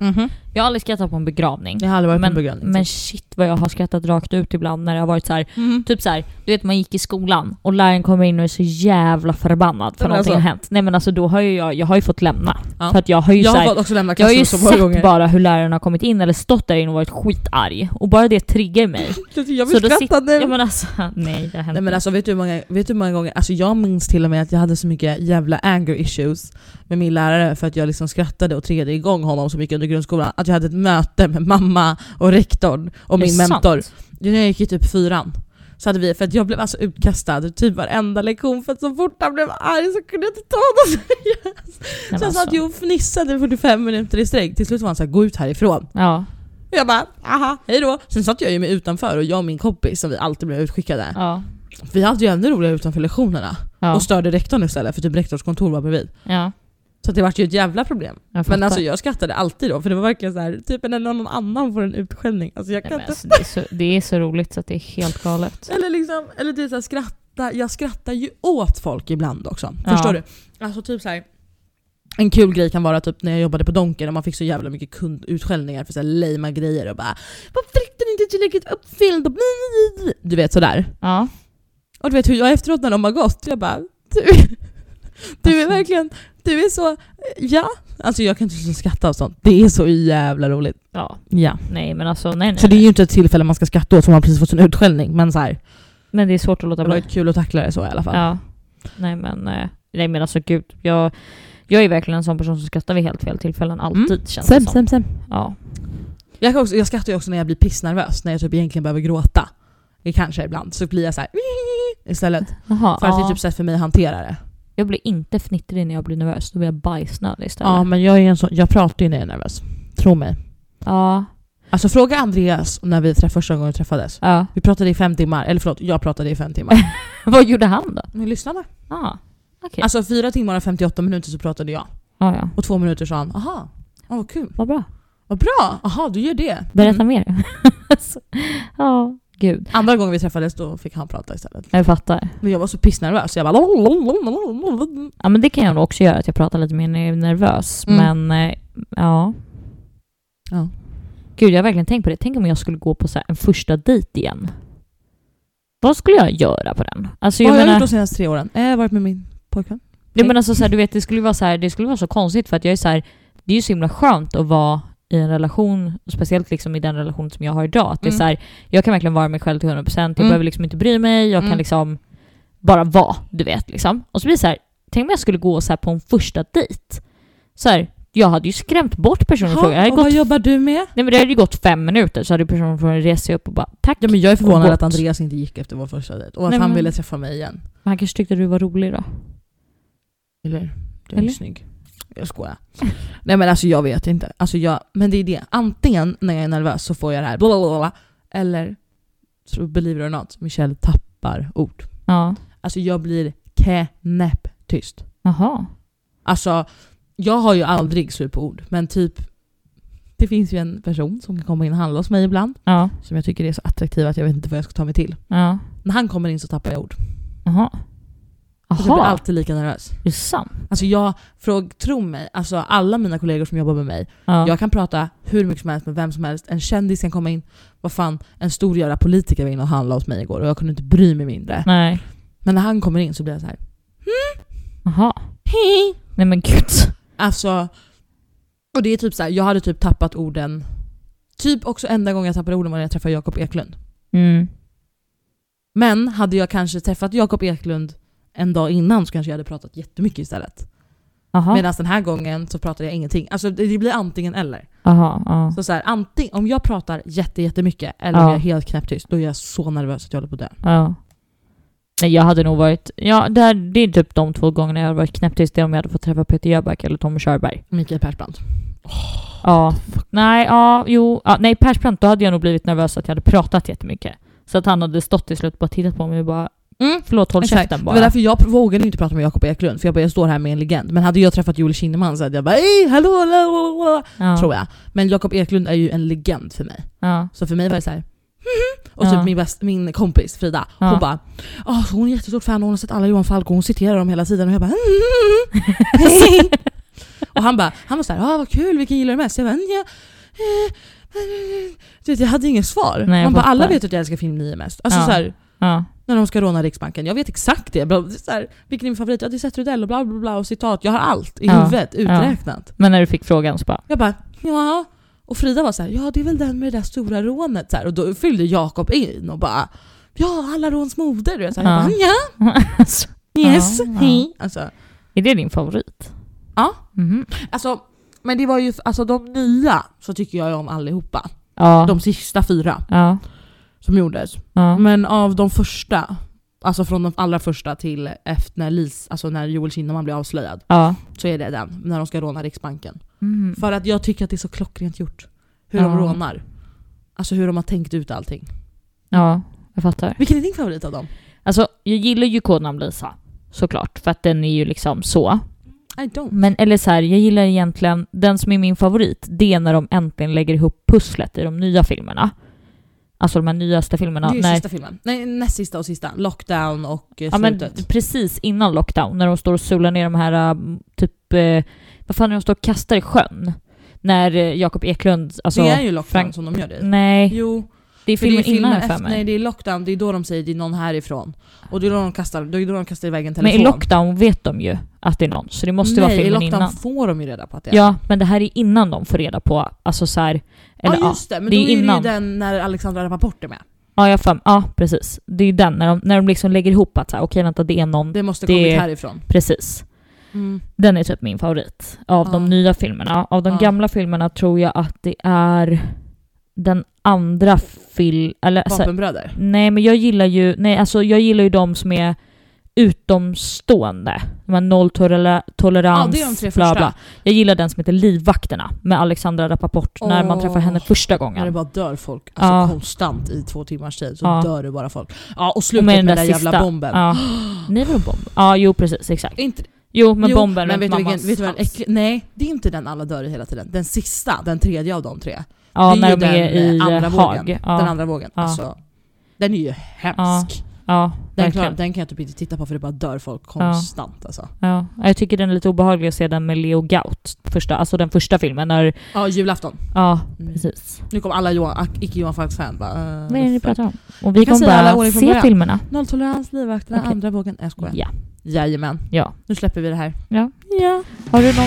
Jag har aldrig skrattat på en begravning. Jag har aldrig varit på Mhm. Men, en begravning. typ. men shit vad jag har skrattat rakt ut ibland när det har varit så här, mm. typ så här, du vet man gick i skolan och läraren kommer in och är så jävla förbannad för Men någonting alltså- har hänt. Nej men alltså då har ju jag, jag har ju fått lämna. Ja. För att jag har ju Jag så har här, fått också lämna jag har ju klassrum så många sett gånger. bara hur läraren har kommit in eller stått där inne och varit skitarg. Och bara det triggar mig. Jag Så vill då skratta nu. Ja men alltså, nej det har hänt Nej men alltså vet du, hur många, vet du hur många gånger, alltså jag minns till och med att jag hade så mycket jävla anger issues med min lärare för att jag liksom skrattade och triggade igång honom så mycket under grundskolan att jag hade ett möte med mamma och rektorn och Är min det mentor. sant? Det är När jag gick i typ fyran så hade vi, för att jag blev alltså utkastad typ varenda lektion för att så fort han blev arg så kunde jag inte ta honom seriöst. Nej, men Så jag satt alltså. ju och fnissade i 45 minuter i sträck. Till slut var han såhär, gå ut härifrån. Ja, Och jag bara, aha, hejdå. Sen satt jag ju med utanför och jag och min kompis som vi alltid blev utskickade. ja, Vi hade ju ännu roligare utanför lektionerna ja. och störde rektorn istället för typ rektors kontor var bredvid. ja. Så det var ju ett jävla problem. Jag Men fattar. alltså jag skrattade alltid då för det var verkligen så här, typ när någon annan får en utskällning. Alltså jag Nej, kan men inte... alltså, det, är så, det är så roligt så att det är helt galet. Eller liksom, eller typ såhär skratta, jag skrattar ju åt folk ibland också. Ja. Förstår du? Alltså typ såhär, en kul grej kan vara typ när jag jobbade på Donken och man fick så jävla mycket kundutskällningar för såhär lame grejer och bara Varför fick den inte tillräckligt uppfylld? Och Du vet sådär. Ja. Och du vet hur jag efteråt när de har gått, jag bara du, du är Alltså. verkligen, du är så, ja. Alltså jag kan inte sluta skratta av sånt. Det är så jävla roligt. ja. Ja. Nej men alltså nej, nej. Så det är ju inte ett tillfälle man ska skratta åt för man precis fått en utskällning. Men så här, Men det är svårt att det låta var bli. ju kul att tackla det så i alla fall. Ja. Nej men, eh, nej men alltså gud. Jag, jag är verkligen en sån person som skrattar vid helt fel tillfällen. Mm. Alltid känns det som. sem. Ja. Jag, kan också, jag skrattar ju också när jag blir pissnervös, när jag typ egentligen behöver gråta. Det kanske ibland. Så blir jag så här istället. Jaha, För att det ja. är typ sätt för mig att hantera det. Jag blir inte fnittrig när jag blir nervös. Då blir jag bajsnödig istället. Ja men jag är en sån, jag pratar ju när jag är nervös. Tro mig. ja. Alltså fråga Andreas när vi träff, första gången vi träffades. Ja. Vi pratade i fem timmar, eller förlåt, jag pratade i fem timmar. Vad gjorde han då? Men lyssnade. Ah, okej. Alltså fyra timmar och 58 minuter så pratade jag. Ah, ja. Och två minuter sa han “aha, ja, vad kul, Vad bra. vad bra, aha du gör det”. Berätta Mm. mer. Så- Ja, gud. Andra gången vi träffades då fick han prata istället. Jag fattar. Men jag var så pissnervös, jag bara Ja, men det kan jag nog också göra, att jag pratar lite mer när jag är nervös. Mm. Men eh, ja. Ja. Gud, jag har verkligen tänkt på det. Tänk om jag skulle gå på så här en första dejt igen. Vad skulle jag göra på den? Alltså, Vad jag har jag menar, gjort de senaste tre åren? Eh, Jag har varit med min pojkvän. Nej, men alltså, så här, du vet, det skulle vara så här, det skulle vara så konstigt för att jag är så här, det är ju så himla skönt att vara i en relation, och speciellt liksom i den relation som jag har idag. Att det är Mm. så här, jag kan verkligen vara mig själv till 100%, jag Mm. behöver liksom inte bry mig, jag Mm. kan liksom bara vara, du vet. Liksom. Och så blir det så här, tänk om jag skulle gå så här på en första dejt. Så här, jag hade ju skrämt bort personen i Ha, fråga. Jag hade och vad gått, jobbar du med? nej, men det hade ju gått fem minuter så hade personen från rest sig upp och bara tack. Ja men jag är Och förvånad gått. att Andreas inte gick efter vår första dejt och att Nej, han men- ville träffa mig igen. Men han kanske tyckte du var rolig då. Eller? Du är Eller? ju snygg. Jag skojar. Nej men alltså jag vet inte. Alltså, jag, men det är det. Antingen när jag är nervös så får jag det här bla bla bla, bla eller så believe it or not, Michelle tappar ord. Ja. Alltså jag blir knäpptyst. Jaha. Alltså jag har ju aldrig slut på ord men typ det finns ju en person som kan komma in och handla hos mig ibland Ja. som jag tycker är så attraktiv att jag vet inte vad jag ska ta mig till. Ja. När han kommer in så tappar jag ord. Jaha. Och Alltså, jag blir Jaha. alltid lika nervös. Det är sant. Alltså jag, fråg, tro mig, alltså alla mina kollegor som jobbar med mig Ja. Jag kan prata hur mycket som helst med vem som helst. En kändis kan komma in. Vad fan, en stor jävla politiker var inne och handlade hos mig igår och jag kunde inte bry mig mindre. Nej. Men när han kommer in så blir jag så här. Jaha. Hej! Nej men gud. Alltså, och det är typ så här, jag hade typ tappat orden. Typ också enda gången jag tappade orden var när jag träffade Jakob Eklund. Mm. Men hade jag kanske träffat Jakob Eklund en dag innan så kanske jag hade pratat jättemycket istället. Aha. Medan den här gången så pratade jag ingenting. Alltså det det blir antingen eller. Aha, ja. Så, så här, antingen, om jag pratar jätte, jättemycket eller om Ja. jag är helt knäpptyst, då är jag så nervös att jag håller på att dö. ja. Nej jag hade nog varit, ja det, här, det är typ de två gångerna jag hade varit knäpptyst, det är om jag hade fått träffa Peter Jöback eller Tommy Körberg. Mikael Persbrandt. Ja. Nej, ja, jo, ja, nej Persbrandt, då hade jag nog blivit nervös att jag hade pratat jättemycket. Så att han hade stått till slut och bara tittat på mig och bara Mm. förlåt håll Exakt. käften Det var bara. därför jag pr- vågade inte prata med Jakob Eklund, för jag bara jag står här med en legend. Men hade jag träffat Joel Kinnaman så hade jag bara hej, hallå, hallå, hallå, hallå, Ja. tror jag. Men Jakob Eklund är ju en legend för mig. Ja. Så för mig var det så här. "Mhm." Och typ Ja. min, bäst, min kompis Frida, Ja. hon bara "Ah, så hon är jättestort fan och hon har sett alla Johan Falk och hon citerar dem hela tiden och jag bara "Mhm." Och han bara, han var såhär ah, vad kul, vilken gillar du mest? Jag bara "Mm, ja, eh, eh." du vet, jag hade inget svar. Nej, jag Man bara fattar. alla vet att jag älskar film 9 mest. Alltså Ja. så här, Ja. när de ska råna Riksbanken. Jag vet exakt det. Bla- det är Så här, vilken är min favorit? Ja, det är Seth Rydell och bla bla bla och citat. Jag har allt i Ja. huvudet uträknat. Men när du fick frågan så bara Jag bara ja. Och Frida var så här, ja det är väl den med det där stora rånet. Så här, och då fyllde Jakob in och bara ja alla råns moder. Och jag, så här, Ja. jag bara, alltså, ja, yes, Ja, ja. hej. Alltså, Är det din favorit? Ja. Mhm. alltså, men det var ju, alltså de nya så tycker jag ju om allihopa. Ja. De sista fyra Ja. som gjordes. Ja. Men av de första, alltså från de allra första till efter när, Lis, alltså när Joel Kinnaman blir avslöjad. Ja. så är det den, när de ska råna Riksbanken. Mm. För att jag tycker att det är så klockrent gjort. Hur de Ja. rånar. Alltså hur de har tänkt ut allting. Ja, jag fattar. Vilken är din favorit av dem? Alltså, jag gillar ju kodnamn Lisa, såklart. För att den är ju liksom så. I don't. Men eller så här, jag gillar egentligen, den som är min favorit, det är när de äntligen lägger ihop pusslet i de nya filmerna. Alltså de här nyaste filmerna. det är ju när, sista filmen. Nej, näst sista och sista. Lockdown och eh, ja, men slutet. precis innan lockdown, när de står och solar ner de här, äh, typ, eh, vad fan är de står och kastar i sjön? När eh, Jakob Eklund, alltså... det är ju lockdown Frank- Mm, som de gör det i. Nej, Jo, det är för det filmen är filmen innan efter, för nej mig. det är lockdown, det är då de säger det är någon härifrån. Och det är då de kastar, då är det då de kastar iväg en Men telefon. i lockdown vet de ju att det är någon, så det måste nej, vara i filmen lockdown innan. får de ju reda på att det är. Ja, men det här är innan de får reda på, alltså så här, eller ja ja, just det, men det då är är det ju innan. den när Alexandra Rappaport är med. ja, jag fam, ja precis. Det är ju den, när de, när de liksom lägger ihop att så här, okej vänta det är någon, Det måste Det- kommit härifrån. precis. Mm. Den är typ min favorit av Ja. de nya filmerna. Av de Ja. gamla filmerna tror jag att det är den andra film, eller alltså, Vapenbröder. nej men jag gillar ju, nej alltså jag gillar ju de som är utomstående. De här nolltolerans, Ja, det är de tre bla första. bla. Jag gillar den som heter Livvakterna med Alexandra Rappaport när man Åh. träffar henne första När det gången. bara dör folk, alltså Ja. konstant i två timmars tid så Ja. dör det bara folk. Ja, och slutet med den där, jävla sista. bomben. Ja. Nej vadå bomb? Ja jo precis exakt. Inte, Jo men jo, bomben men runt vet du, vilken, mammas vet du vad den hals. äcklig, Nej, det är inte den alla dör i hela tiden. Den sista, den tredje av de tre. Ja det när är de är den, eh, i andra Haag. vågen. Ja, Den andra vågen. Ja. Alltså, den är ju hemsk. ja Den, verkligen. klar, den kan jag typ inte titta på för det bara dör folk konstant alltså. Ja, jag tycker den är lite obehaglig att se den med Leo Gaut, första, alltså den första filmen. När, Ja, julafton. ja, Mm. precis. Nu kommer alla Johan, ak- icke-Johan Falks-fan bara... eh, Vad är det ni för- pratar om? Och vi Jag kan kommer säga alla bara åren från se början. filmerna. Nolltolerans, livvakterna, Okej. andra vågen. Nej, Jag skojar. Ja. Jajamän. ja. Nu släpper vi det här. Ja. ja. Har du någon...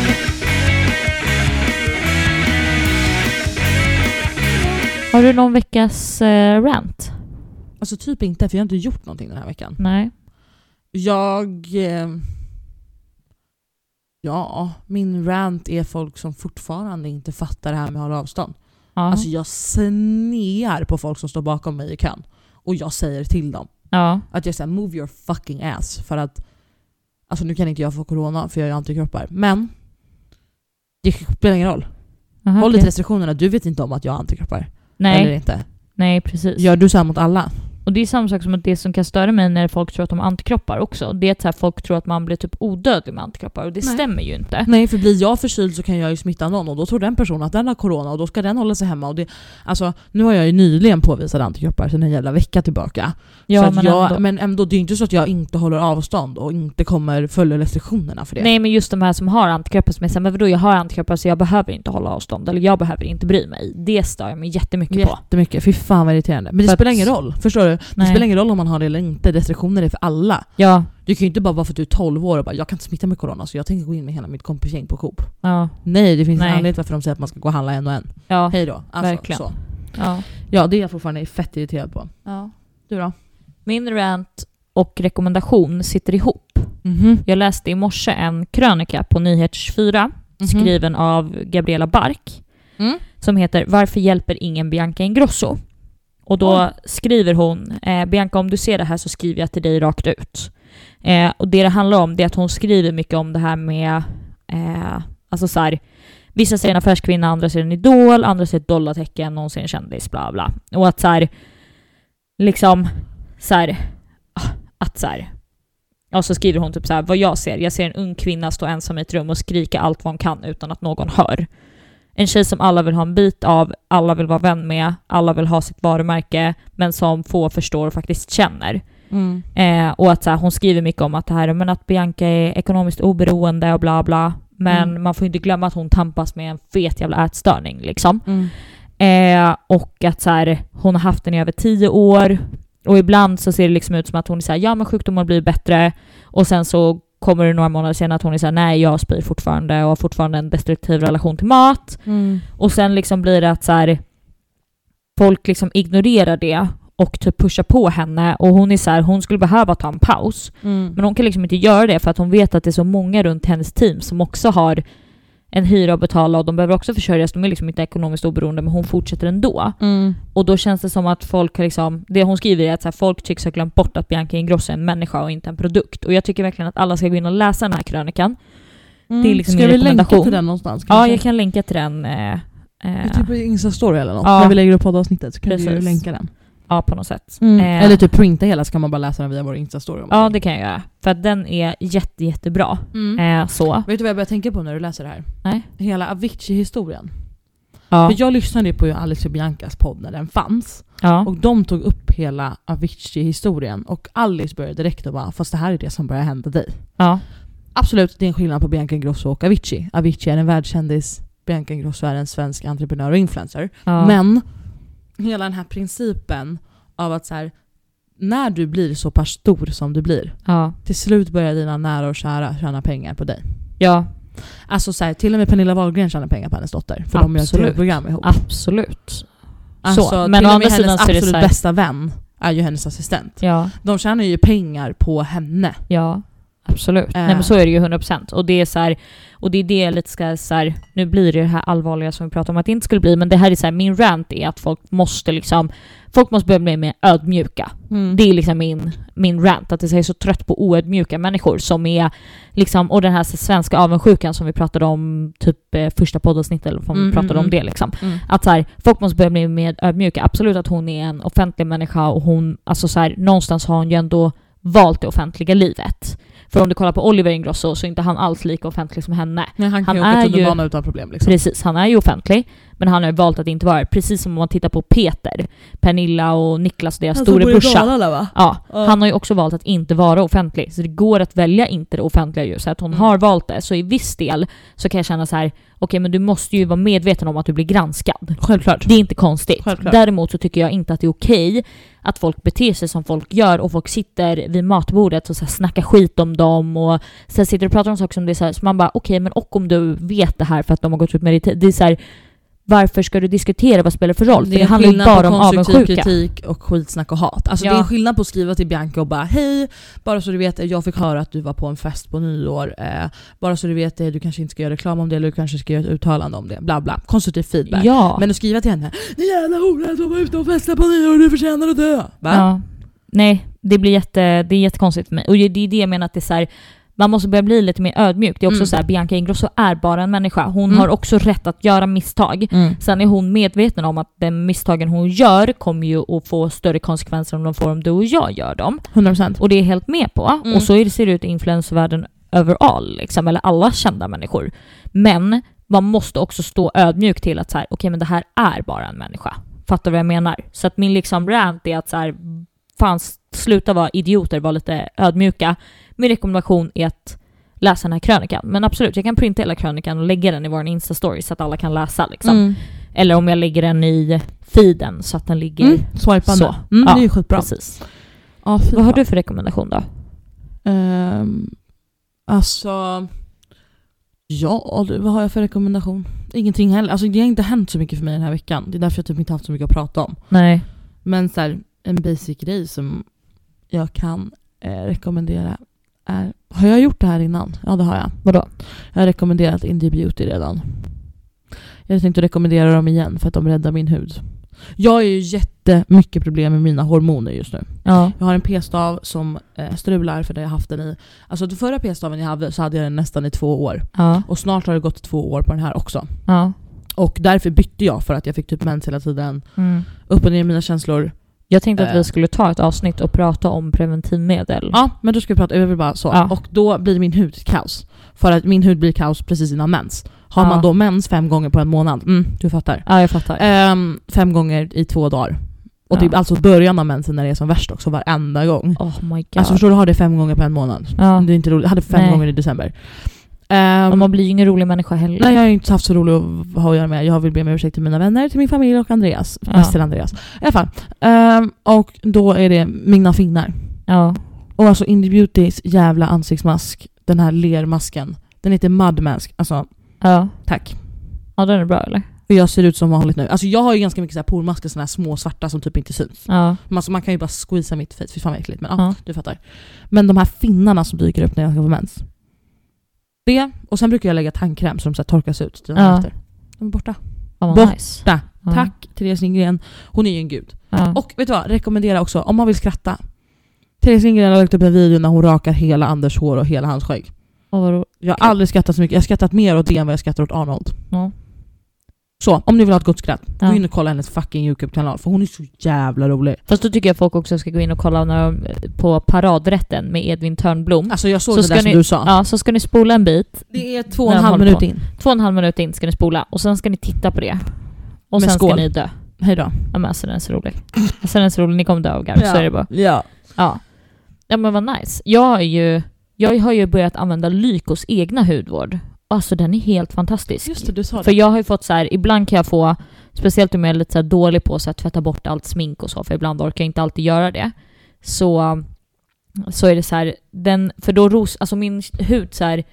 Har du någon veckas eh, rant? Alltså typ inte, för jag har inte gjort någonting den här veckan. Nej. Jag... Eh, ja, min rant är folk som fortfarande inte fattar det här med att hålla avstånd. Ja. Alltså jag snear på folk som står bakom mig i kön. Och jag säger till dem ja. att jag säger move your fucking ass för att... Alltså nu kan inte jag få corona för jag har antikroppar. Men det spelar ingen roll. Aha, Håll okej. lite restriktionerna, du vet inte om att jag har antikroppar. Eller Nej, inte. nej precis. Gör du så här mot alla? Och det är samma sak som att det som kan störa mig när folk tror att de har antikroppar också. Det är att så här, folk tror att man blir typ odödlig med antikroppar och det Nej. Mm. stämmer ju inte. Nej, för blir jag förkyld så kan jag ju smitta någon och då tror den personen att den har corona och då ska den hålla sig hemma. Och det, alltså, nu har jag ju nyligen påvisat antikroppar sedan en jävla vecka tillbaka. så att jag, ändå. men ändå, det är ju inte så att jag inte håller avstånd och inte kommer följa restriktionerna för det. Nej men just de här som har antikroppar som är såhär, men vadå jag har antikroppar så jag behöver inte hålla avstånd eller jag behöver inte bry mig. Det stör jag mig jättemycket på. Jättemycket, fy fan vad irriterande. Men det För att- spelar ingen roll, förstår du? Det Nej. spelar ingen roll om man har det eller inte, restriktioner är för alla. Ja, Du kan ju inte bara vara för att du är 12 år och bara “jag kan inte smitta med corona så jag tänker gå in med hela mitt kompisgäng på Coop”. ja, Nej, det finns Nej. en anledning varför de säger att man ska gå och handla en och en. ja. Hej då. Alltså, Verkligen. Så. ja. Ja, det är jag fortfarande fett irriterad på. Du då? Min rant och rekommendation sitter ihop. Mm-hmm. Jag läste i morse en krönika på Nyhetsfyra Mhm. skriven av Gabriella Bark Mm-hmm. Mm. som heter “Varför hjälper ingen Bianca Ingrosso?” Och då skriver hon eh, “Bianca om du ser det här så skriver jag till dig rakt ut”. Eh, och det det handlar om det är att hon skriver mycket om det här med, eh, alltså så här, vissa ser en affärskvinna, andra ser en idol, andra ser ett dollartecken, någon ser en kändis, bla bla. Och att så här, liksom, så här, ah, att så här, och så skriver hon typ så här, vad jag ser, jag ser en ung kvinna stå ensam i ett rum och skrika allt vad hon kan utan att någon hör. En tjej som alla vill ha en bit av, alla vill vara vän med, alla vill ha sitt varumärke, men som få förstår och faktiskt känner. Mm. Eh, och att så här, hon skriver mycket om att det här, men att Bianca är ekonomiskt oberoende och bla bla, men Mm. man får ju inte glömma att hon tampas med en fet jävla ätstörning liksom. Mm. Eh, och att så här, hon har haft den i över tio år. Och ibland så ser det liksom ut som att hon är så här, ja men sjukdomen blir bättre. Och sen så kommer det några månader senare att hon är så här, nej jag spyr fortfarande och har fortfarande en destruktiv relation till mat. Mm. Och sen liksom blir det att så här, folk liksom ignorerar det och typ pushar på henne och hon är så här, hon skulle behöva ta en paus. Mm. Men hon kan liksom inte göra det för att hon vet att det är så många runt hennes team som också har en hyra att betala och de behöver också försörjas. De är liksom inte ekonomiskt oberoende men hon fortsätter ändå. mm. Och då känns det som att folk har liksom, det hon skriver är att så här, folk tycks ha glömt bort att Bianca Ingrosso är en människa och inte en produkt. Och jag tycker verkligen att alla ska gå in och läsa den här krönikan. Det är liksom Mm. Ska min vi länka rekommendation. till den någonstans? Ja, kanske? jag kan länka till den. Eh, eh, Typ på Insta-story eller något. Ja. När vi lägger upp poddavsnittet så kan vi ju Precis. länka den. Ja, på något sätt. Eh, Eller typ printa hela så kan man bara läsa den via vår Insta-story. om man Ja, vill. det kan jag göra. För att den är jätte, jättebra. Mm. Eh, så. Vet du vad jag börjar tänka på när du läser det här? Nej. Hela Avicii-historien. Ja. För jag lyssnade ju på ju Alex och Biancas podd när den fanns. ja. Och de tog upp hela Avicii-historien och Alice började direkt och bara “fast det här är det som börjar hända dig”. ja. Absolut, det är en skillnad på Bianca Ingrosso och Avicii. Avicii är en världskändis, Bianca Ingrosso är en svensk entreprenör och influencer. ja. Men hela den här principen av att så här, när du blir så pass stor som du blir, Ja. till slut börjar dina nära och kära tjäna pengar på dig. Ja. Alltså så här, till och med Pernilla Wahlgren tjänar pengar på hennes dotter, för de gör ett Absolut. tv-program ihop. Absolut. Alltså, så. Men Men till å och andra med hennes sidan så är det absolut så här- bästa vän är ju hennes assistent. Ja, De tjänar ju pengar på henne. ja. Absolut. Eh. Nej men så är det ju 100%. Och det är så här, och det är det jag lite ska så här, nu blir det ju det här allvarliga som vi pratade om att det inte skulle bli, men det här är så här, min rant är att folk måste liksom, folk måste börja bli mer ödmjuka. Det är liksom min, min rant, att jag är så trött på oödmjuka människor som är liksom, och den här svenska avundsjukan som vi pratade om typ eh, första poddavsnittet, eller vad vi Mm, pratade mm, om mm. det liksom. Att så här, folk måste börja bli mer ödmjuka. Absolut att hon är en offentlig människa och hon, alltså så här, någonstans har hon ju ändå valt det offentliga livet. För om du kollar på Oliver Ingrosso så är inte han alls lika offentlig som henne. Nej, han kan Han ju är åka ju- tunnelbana utan problem liksom. Precis, han är ju offentlig, men han har ju valt att inte vara det. Precis som om man tittar på Peter, Pernilla och Niklas och deras Alltså, storebrorsa. va? Ja, Ja. han har ju också valt att inte vara offentlig. Så det går att välja inte det offentliga ju. Så att hon Mm. har valt det. Så i viss del så kan jag känna så här, okej men du måste ju vara medveten om att du blir granskad. Självklart. Det är inte konstigt. Självklart. Däremot så tycker jag inte att det är okej att folk beter sig som folk gör och folk sitter vid matbordet och så här snackar skit om dem och sen sitter och pratar om saker som det är så, här, så man bara okej men och om du vet det här för att de har gått ut med det det är så här, varför ska du diskutera vad spelar det för roll? För det är handlar ju skillnad bara på om konstruktiv avundsjuka. kritik och skitsnack och hat. Alltså Ja. det är skillnad på att skriva till Bianca och bara hej, bara så du vet, jag fick höra att du var på en fest på nyår. Eh, bara så du vet, det, du kanske inte ska göra reklam om det eller du kanske ska göra ett uttalande om det. Bla bla. Konstruktiv feedback. Ja. Men att skriva till henne Din jävla hora, du var ute och festade på nyår, du förtjänar att dö. Va? Ja. Nej, det blir jätte, det är jättekonstigt för mig. Och det är det jag menar att det är så här, man måste börja bli lite mer ödmjuk. Det är också Mm. så här, Bianca Ingrosso är bara en människa. Hon Mm. har också rätt att göra misstag. Sen är hon medveten om att den misstagen hon gör kommer ju att få större konsekvenser om de får om du och jag gör dem. 100%. Och det är jag helt med på. Mm. Och så är det- ser det ut i influencervärlden överall, liksom, eller alla kända människor. Men man måste också stå ödmjuk till att så här, okej men det här är bara en människa. Fattar du vad jag menar? Så att min liksom rant är att så här, fan sluta vara idioter, var lite ödmjuka. Min rekommendation är att läsa den här krönikan. Men absolut, jag kan printa hela krönikan och lägga den i vår Insta-story så att alla kan läsa liksom. Mm. Eller om jag lägger den i feeden så att den ligger... Mm. Swipande. Så. Så. Mm, Ja, det är ju skitbra. Precis. Ja, fy Vad har fan. du för rekommendation då? Ehm, alltså... Ja du, vad har jag för rekommendation? Ingenting heller. Alltså det har inte hänt så mycket för mig den här veckan. Det är därför jag typ inte haft så mycket att prata om. Nej. Men så här, en basic grej som jag kan eh, rekommendera är... Har jag gjort det här innan? Ja det har jag. Vadå? Jag har rekommenderat Indie Beauty redan. Jag tänkte rekommendera dem igen för att de räddar min hud. Jag har ju jättemycket problem med mina hormoner just nu. Ja. Jag har en p-stav som eh, strular för det har jag haft den i. Alltså den förra p-staven jag hade så hade jag den nästan i två år. Ja. Och snart har det gått två år på den här också. Ja. Och därför bytte jag för att jag fick typ mens hela tiden. Mm. Upp och ner i mina känslor. Jag tänkte att Eh. vi skulle ta ett avsnitt och prata om preventivmedel. Ja men då ska vi prata, jag vill bara så. Ja. Och då blir min hud kaos. För att min hud blir kaos precis innan mens. Har Ja. man då mens fem gånger på en månad, mm, du fattar. Ja, jag fattar. Ehm, fem gånger i två dagar. Och typ Ja. alltså början av mensen när det är som värst också, varenda gång. Oh my god. Alltså förstår du, har det fem gånger på en månad. ja. Det är inte roligt. Jag hade fem Nej. gånger i december. Ehm, Och Man blir ju ingen rolig människa heller. nej, jag har ju inte haft så roligt att ha att göra med. Jag vill be om ursäkt till mina vänner, till min familj och Andreas. Ja. Mest till Andreas. I alla fall. Ehm, och då är det mina finnar. Ja. Och alltså Indie Beautys jävla ansiktsmask, den här lermasken. Den heter Mud Mask. Alltså, Ja. tack. Ja, den är bra eller? Och jag ser ut som vanligt nu. Alltså jag har ju ganska mycket så här pormasker, såna här små svarta som typ inte syns. Ja. Man, alltså, man kan ju bara squeeza mitt face, fy fan vad äckligt. Men ja, Ja. du fattar. Men de här finnarna som dyker upp när jag ska få mens. Det, och sen brukar jag lägga tandkräm så de så här torkas ut dagen Ja. efter. De är borta. Ja, vad Borta. nice. Där. Ja. Tack Therese Lindgren, hon är ju en gud. Ja. Och vet du vad, rekommendera också om man vill skratta. Therese Lindgren har lagt upp en video när hon rakar hela Anders hår och hela hans skägg. Och vad ro- Jag har aldrig skrattat så mycket, jag har skrattat mer åt det än vad jag skrattar åt Arnold. Ja. Så om ni vill ha ett gott skratt, gå Ja. in och kolla hennes fucking YouTube-kanal för hon är så jävla rolig. Fast då tycker jag folk också ska gå in och kolla när de, på paradrätten med Edvin Törnblom. Alltså jag såg Så det ska där som ni- du sa. Ja, så ska ni spola en bit Det är två och När en de halv håller minut på. in. Två och en halv minut in ska ni spola och sen ska ni titta på det. Och Med sen ska skål. ni dö. Hejdå. Ja men alltså den är så rolig. Alltså den är så rolig, ni kommer dö av garv. Så är det bara. Ja. Ja. Ja men vad nice. Jag har ju, jag har ju börjat använda Lykos egna hudvård. Alltså den är helt fantastisk. Just det, du sa För det. jag har ju fått så här, ibland kan jag få, speciellt om jag är lite så här dålig på så att tvätta bort allt smink och så, för ibland orkar jag inte alltid göra det. Så, så är det så här, den, för då ros, alltså min hud så här,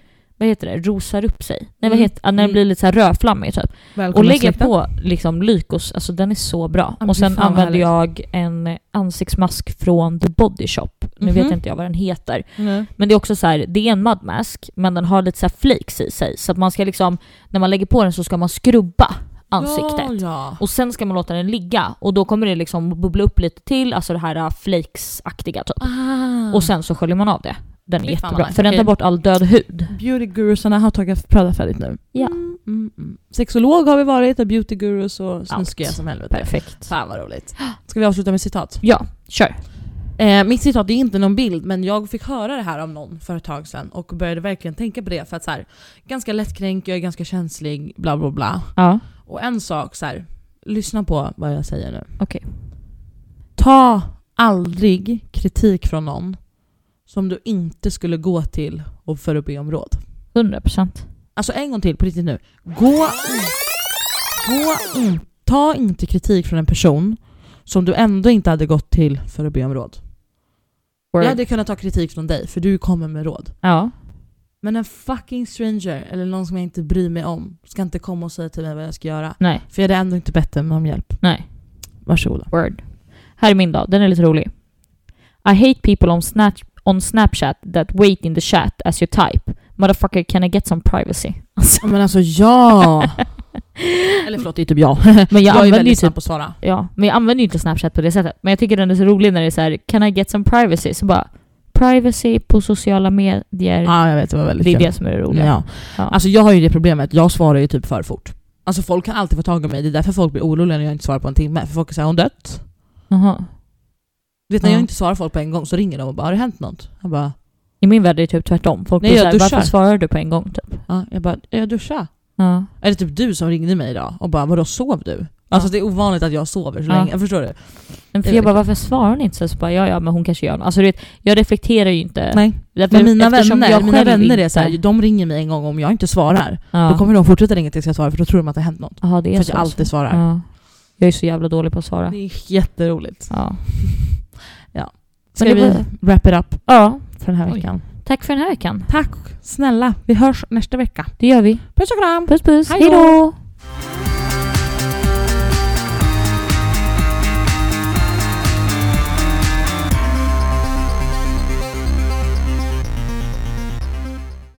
vad heter det, rosar upp sig. Nej, vad Mm. heter, ah, när den Mm. blir lite så här rödflammig typ. Välkomna Och lägga släkten. på liksom Lycos, alltså den är så bra. men och fy sen fan vad använde jag en ansiktsmask från The Body Shop. Nu Mhm. vet jag inte jag vad den heter. Nej. Men det är också så här, det är en mud mask men den har lite så här flakes i sig. Så att man ska liksom, när man lägger på den så ska man skrubba ansiktet. Ja, ja. Och sen ska man låta den ligga och då kommer det liksom bubbla upp lite till, alltså det här äh, flakes-aktiga typ. Ah. Och sen så sköljer man av det. Den är Fy fan vad jättebra, nice. för den Okej. tar bort all död hud. Beautygurusarna har tagit prövat färdigt nu. Ja. Mm, mm, mm. Sexolog har vi varit och beautygurus och snuskiga Allt. som helvete. Perfekt. Fan vad roligt. Ska vi avsluta med citat? Ja, kör. Eh, mitt citat det är inte någon bild men jag fick höra det här av någon för ett tag sedan och började verkligen tänka på det för att så här, ganska lättkränkt, jag är ganska känslig, bla bla bla. Ja, Och en sak så här, lyssna på vad jag säger nu. Okej. Ta aldrig kritik från någon som du inte skulle gå till och för att be om råd. 100%. Alltså en gång till på riktigt nu. Gå in, gå in, ta inte kritik från en person som du ändå inte hade gått till för att be om råd. Word. Jag hade kunnat ta kritik från dig för du kommer med råd. Ja. Men en fucking stranger eller någon som jag inte bryr mig om ska inte komma och säga till mig vad jag ska göra. Nej. För jag hade ändå inte bett dem om hjälp. Nej. Varsågoda. Word. Här är min då, den är lite rolig. I hate people on, snatch, on Snapchat that wait in the chat as you type. Motherfucker can I get some privacy? Alltså, Men alltså ja! eller förlåt, det är typ jag. men jag, jag är använder ju väldigt typ, snabb på att svara. ja, men jag använder ju inte Snapchat på det sättet. Men jag tycker den är så rolig när det är så här, can I get some privacy? Så bara, privacy på sociala medier. Ja, jag vet. Det var väldigt det är kul. det som är det roliga. Ja. Ja. Alltså jag har ju det problemet, jag svarar ju typ för fort. Alltså folk kan alltid få tag i mig, det är därför folk blir oroliga när jag inte svarar på en timme. För folk säger har hon dött? Aha. Du vet när Ja. jag inte svarar folk på en gång så ringer de och bara har det hänt något? Jag bara, I min värld är det typ tvärtom. Folk Nej, blir så jag här, varför duschar. svarar du på en gång? Typ. ja. jag bara, jag duschar. Ja. Eller typ du som ringde mig idag och bara vadå sov du? Alltså Ja. det är ovanligt att jag sover så Ja. länge, förstår du? Men för Det är jag bara, det. varför svarar hon inte? Så, så bara, ja ja, men hon kanske gör något. Alltså du vet, jag reflekterar ju inte. Nej. Därför- Men mina eftersom vänner, jag mina själv vänner är inte- så här, de ringer mig en gång om jag inte svarar. Ja. Då kommer de fortsätta ringa tills jag svarar för då tror de att det har hänt något. Jaha, det är För att så. jag alltid svarar. Ja. Jag är så jävla dålig på att svara. Det är jätteroligt. Ja. Ska Men det vi wrap it up ja, för den här Oj. veckan? tack för den här veckan. Tack snälla, vi hörs nästa vecka. Det gör vi. Puss och kram! Puss puss, Hej då. hejdå!